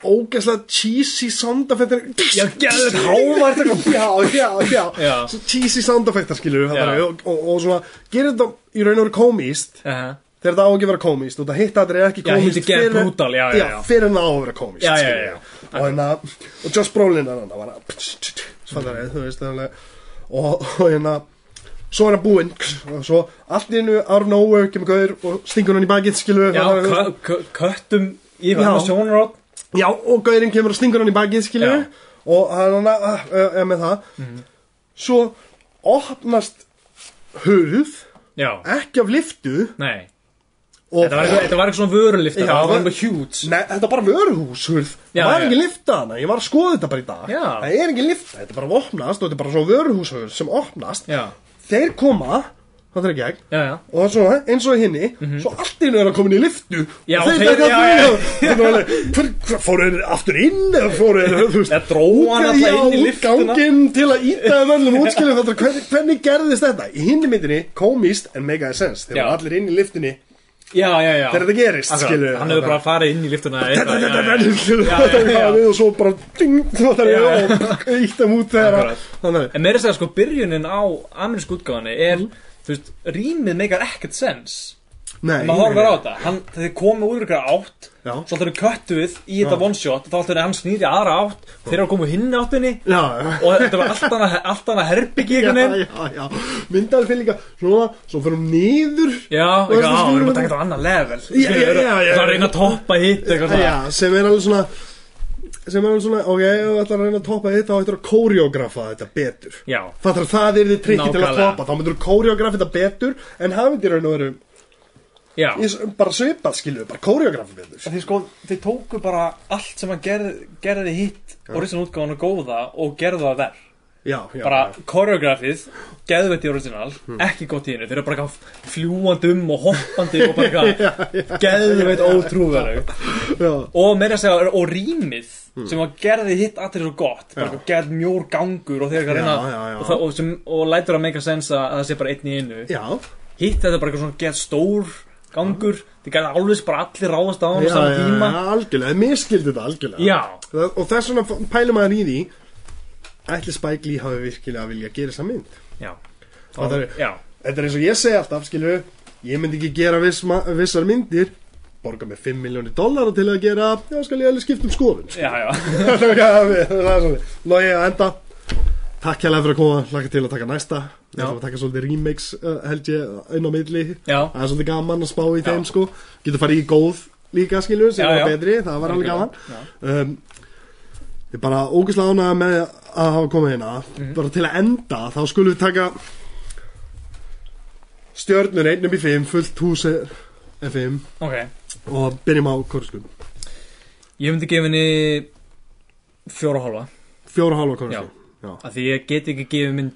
Speaker 1: ógeðslega cheesy sound effects
Speaker 2: Já, geðveikt
Speaker 1: hávært eitthvað Já, já, já,
Speaker 2: Já.
Speaker 1: Svo cheesy sound effects skilur
Speaker 2: Já.
Speaker 1: og, og, og svona, gerir þetta í raun og veru komist
Speaker 2: bardaðatrið
Speaker 1: þegar það á ekki að vera komist og það hitt að það er ekki
Speaker 2: Já,
Speaker 1: komist
Speaker 2: hitt er gerð brútal, já, já, já.
Speaker 1: fyrir en það á að vera komist
Speaker 2: Já, já,
Speaker 1: skilur
Speaker 2: já,
Speaker 1: ég. og hérna og Josh Brolin er hann það var að fattar ég, þú veist þannig, og, og hérna svo er hann búinn og svo allt í innu out of nowhere kemur gaur og stingur hann í bakið skilu
Speaker 2: Já, kö- kö- köttum yfir
Speaker 1: Já.
Speaker 2: hann sjónarótt
Speaker 1: já og gaurinn kemur og stingur hann í bakið skilu
Speaker 2: Já. Mhm.
Speaker 1: og hann uh, uh, er með það svo opnast hurð
Speaker 2: Já,
Speaker 1: ekki af liftu
Speaker 2: nei
Speaker 1: og
Speaker 2: Þetta var eitthvað, þetta var eitthvað svona vörulifta
Speaker 1: Já,
Speaker 2: Það var
Speaker 1: það-
Speaker 2: eitthvað huge
Speaker 1: Nei, þetta er bara vöruhúshurð
Speaker 2: Já,
Speaker 1: Það var
Speaker 2: já.
Speaker 1: ekki lifta hana, ég var að skoða þetta bara í dag
Speaker 2: Já.
Speaker 1: Það er ekki lifta, þetta er bara að opnast og þetta er bara svo vöruhúshurð sem opnast
Speaker 2: Já,
Speaker 1: Þeir koma, það er gegn
Speaker 2: já, já
Speaker 1: og það er svona, eins og hinni svo allt í einu er hann komin í liftu
Speaker 2: Já,
Speaker 1: og þeir
Speaker 2: þeir-
Speaker 1: þetta
Speaker 2: já, já.
Speaker 1: alveg fóru þeir aftur inn eða fóru þeir, þú veist
Speaker 2: Eða dró hann
Speaker 1: já,
Speaker 2: alltaf inn í
Speaker 1: út
Speaker 2: liftuna
Speaker 1: ganginn til að íta um öllum útskilum þetta, hvernig, hvernig gerðist þetta? Í hinni myndinni, komist en mega sense, þeir
Speaker 2: Já.
Speaker 1: eru allir inn í liftinni
Speaker 3: já, já, já
Speaker 1: þegar þetta gerist,
Speaker 2: Akkurat,
Speaker 1: skilju
Speaker 2: hann hefur bara farið inn í liftuna eða eitthvað, já, já, já.
Speaker 1: þetta er og svo bara ding, það er
Speaker 2: Já, já.
Speaker 1: og eitt um út þegar
Speaker 2: Akkurat.
Speaker 1: þannig
Speaker 2: en meira að segja sko byrjunin á amerísku útgáðanni er
Speaker 1: Mm.
Speaker 2: þú veist, rýmið meikar ekkert sens
Speaker 1: nei,
Speaker 3: maður horfir á þetta, hann, þeir komu úr ykkur átt
Speaker 1: Já.
Speaker 3: svo alltaf eru köttuð í þetta one shot þá alltaf eru hann snýri aðra átt þeir eru að koma úr hinn áttinni
Speaker 1: já,
Speaker 2: og þetta var allt annað, allt annað herbyggi
Speaker 1: já,
Speaker 2: einhvern veginn
Speaker 1: já, já myndaður fyrir líka svona, svo fyrir hún niður
Speaker 2: já,
Speaker 1: Og
Speaker 2: eitthvað,
Speaker 1: þessi
Speaker 2: á, við erum
Speaker 1: skilur-
Speaker 2: að taka þetta á annað level
Speaker 1: Já, já, já, já.
Speaker 2: það er að reyna að toppa hitt eitthvað svona.
Speaker 1: já, sem er alveg svona sem er alveg svona, ok, ef þú ætlar að reyna að toppa þetta þá ætlar að kóriógrafa þetta betur
Speaker 2: já,
Speaker 1: Það þarf það er þið trikki til að
Speaker 2: Nákvæmlega.
Speaker 1: toppa Þá myndur þú kóriógrafa þetta betur En hafið þér raun og veru
Speaker 2: já,
Speaker 1: í s- Bara svipað skilju, bara kóriógrafa betur
Speaker 3: þeir sko, þeir tóku bara allt sem hann gerði, gerði hitt original útgáðan og góða og gerðu það verð
Speaker 1: Já, já
Speaker 3: bara koreografið, geðvett í original ekki gott í hennu, þeir eru bara eitthvað fljúandi um og hoppandi og bara eitthvað geðvett ótrúverug
Speaker 1: já, Hmm.
Speaker 3: og meira að segja, og rýmið sem að gerði hitt allir svo gott bara eitthvað gerð mjór gangur og þeir eru eitthvað
Speaker 1: Já, já,
Speaker 3: að
Speaker 1: já.
Speaker 3: reyna og, það, og, sem, og lætur að make a sense að að það sé bara einn í einu
Speaker 1: já,
Speaker 3: hitt þetta er bara eitthvað svona gerð stór gangur, þeir gerði alveg bara allir ráðast á hann á
Speaker 1: já, já,
Speaker 3: saman tíma
Speaker 1: já, algjörlega, þið miskildi þetta algjörlega
Speaker 2: já,
Speaker 1: Það- Og þess vegna f- pælum maður í því Ætli Spike Lee hafi virkilega vilja gera þessa mynd
Speaker 2: já
Speaker 1: Það er-
Speaker 2: já,
Speaker 1: Þetta er eins og ég segi alltaf, skilju Ég myndi ekki gera viss, ma- vissar myndir Borga með 5 miljónir dollara til að gera Já, skal ég alveg skipta um skoðun
Speaker 3: já, já,
Speaker 1: Það er svona Lógi að enda Takk hérlega fyrir að koma, hlakka til að taka næsta Við
Speaker 2: Já.
Speaker 1: ætlum að taka svolítið remakes uh, held ég inn á milli
Speaker 2: já,
Speaker 1: Það er svolítið gaman að spá í þeim sko Getur farið í góð líka skilur sem
Speaker 3: Já,
Speaker 1: var
Speaker 3: já.
Speaker 1: betri, það var alveg gaman um, Ég er bara ógæslega ánægða með að hafa komið hérna
Speaker 2: Mhm.
Speaker 1: Bara til að enda, þá skulum við taka Stjörnur 1 upp í 5, fullt hús er er 5
Speaker 2: ok
Speaker 1: Og byrjum á korskun
Speaker 2: ég myndi gefa henni fjóra og hálfa
Speaker 1: Fjóra og hálfa korskun
Speaker 2: Já. af því ég get ekki gefið mynd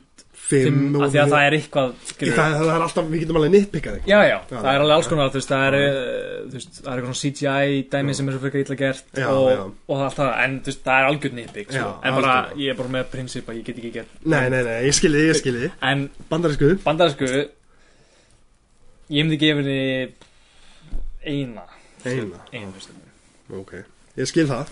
Speaker 1: Fimm
Speaker 2: fimm,
Speaker 1: og
Speaker 2: af því að
Speaker 1: fimm.
Speaker 2: það er eitthvað skilur
Speaker 1: það, það er alltaf, við getum alveg nitpikað þig
Speaker 2: já, já,
Speaker 1: Já,
Speaker 2: það er alveg alls konar þú veist, það er, eh, þú veist, það er eitthvað svona CGI dæmi sem er svo frekar illa gert
Speaker 1: Já,
Speaker 2: og,
Speaker 1: já.
Speaker 2: og allt það, en þú veist, það er algjörn nýpik
Speaker 1: Já,
Speaker 2: sko. en bara,
Speaker 1: algjörlega.
Speaker 2: ég er bara með prinsip að ég get ekki gert
Speaker 1: Nei, nei, nei, ég skilji, ég skilji
Speaker 2: en
Speaker 1: Bandarísku
Speaker 2: bandarsku ég myndi gefa henni eina
Speaker 1: Eina,
Speaker 2: einu, þú veist.
Speaker 1: ok Ég skil það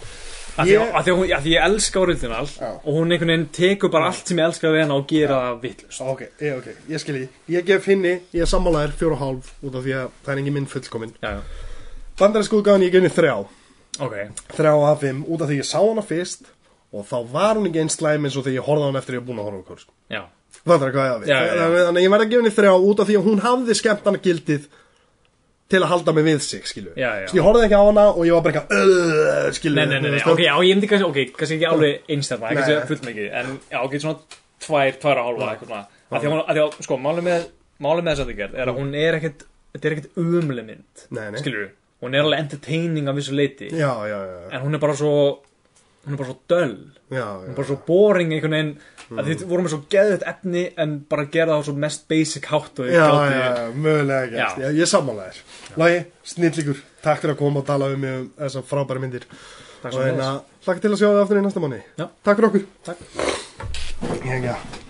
Speaker 2: Af því
Speaker 1: Ég-
Speaker 2: að- af því að hún- af því ég elska original
Speaker 1: Já.
Speaker 2: og hún einhvern veginn tekur bara allt sem ég elska við henn og gera það vittlust
Speaker 1: Ok, ég, ok, ég skilji Ég gef hinni, ég er sammálaðir fjóra og hálf Út af því að það er engin minn fullkomin
Speaker 2: já, já,
Speaker 1: Bandarísku útgáðan ég gef henni þrjá
Speaker 2: ok
Speaker 1: Þrjá af fimm, út af því ég sá hana fyrst Og þá var hún ekki einn slæm eins og þegar ég horfði á hana eftir ég var búin að horfa á korsk
Speaker 2: Já,
Speaker 1: Það er hvað ég á við
Speaker 2: Já, já,
Speaker 1: Þannig
Speaker 2: já.
Speaker 1: þannig að ég verði að gefa henni þrjá út af því að hún hafði skemmtana gildið Til að halda mig við sig, skilju
Speaker 2: Já, já.
Speaker 1: Ég horfði ekki á hana og ég var bara eitthvað Skilju
Speaker 2: nei, nei, nei, nei, ok, já, ég myndi kannski, ok, kannski ekki alveg einstæðna, kannski
Speaker 1: Nei.
Speaker 2: fullt mikið, en já, ok, svona tvær, tvær og hálfa, eitthvað svona, að því að, hún- af því að, sko, málið með, málið með þess að það gerð er að hún er ekkert, þetta er ekkert umlega mynd,
Speaker 1: Mm. Nei, nei.
Speaker 2: skilur hún er alveg entertaining af vissu leiti,
Speaker 1: Já, já, já, já,
Speaker 2: en hún er bara svo, hún er bara svo döll,
Speaker 1: já,
Speaker 2: hún er
Speaker 1: já.
Speaker 2: bara svo boring einhvern veginn, að
Speaker 1: Mm.
Speaker 2: þið voru með svo geðið efni, en bara gera það á svo mest basic hátt og þið
Speaker 1: Já,
Speaker 2: gátu-
Speaker 1: já, já, mögulega gæst,
Speaker 2: Já.
Speaker 1: já. ég er sammála þér Lagi, snillíkur, takk fyrir að koma og tala um mig um þessar frábæri myndir
Speaker 2: Takk
Speaker 1: Og
Speaker 2: sem
Speaker 1: hérna, hlakka til að sjá þið aftur í næsta manni
Speaker 2: Já.
Speaker 1: Takk fyrir okkur
Speaker 2: Takk.
Speaker 1: Ég, já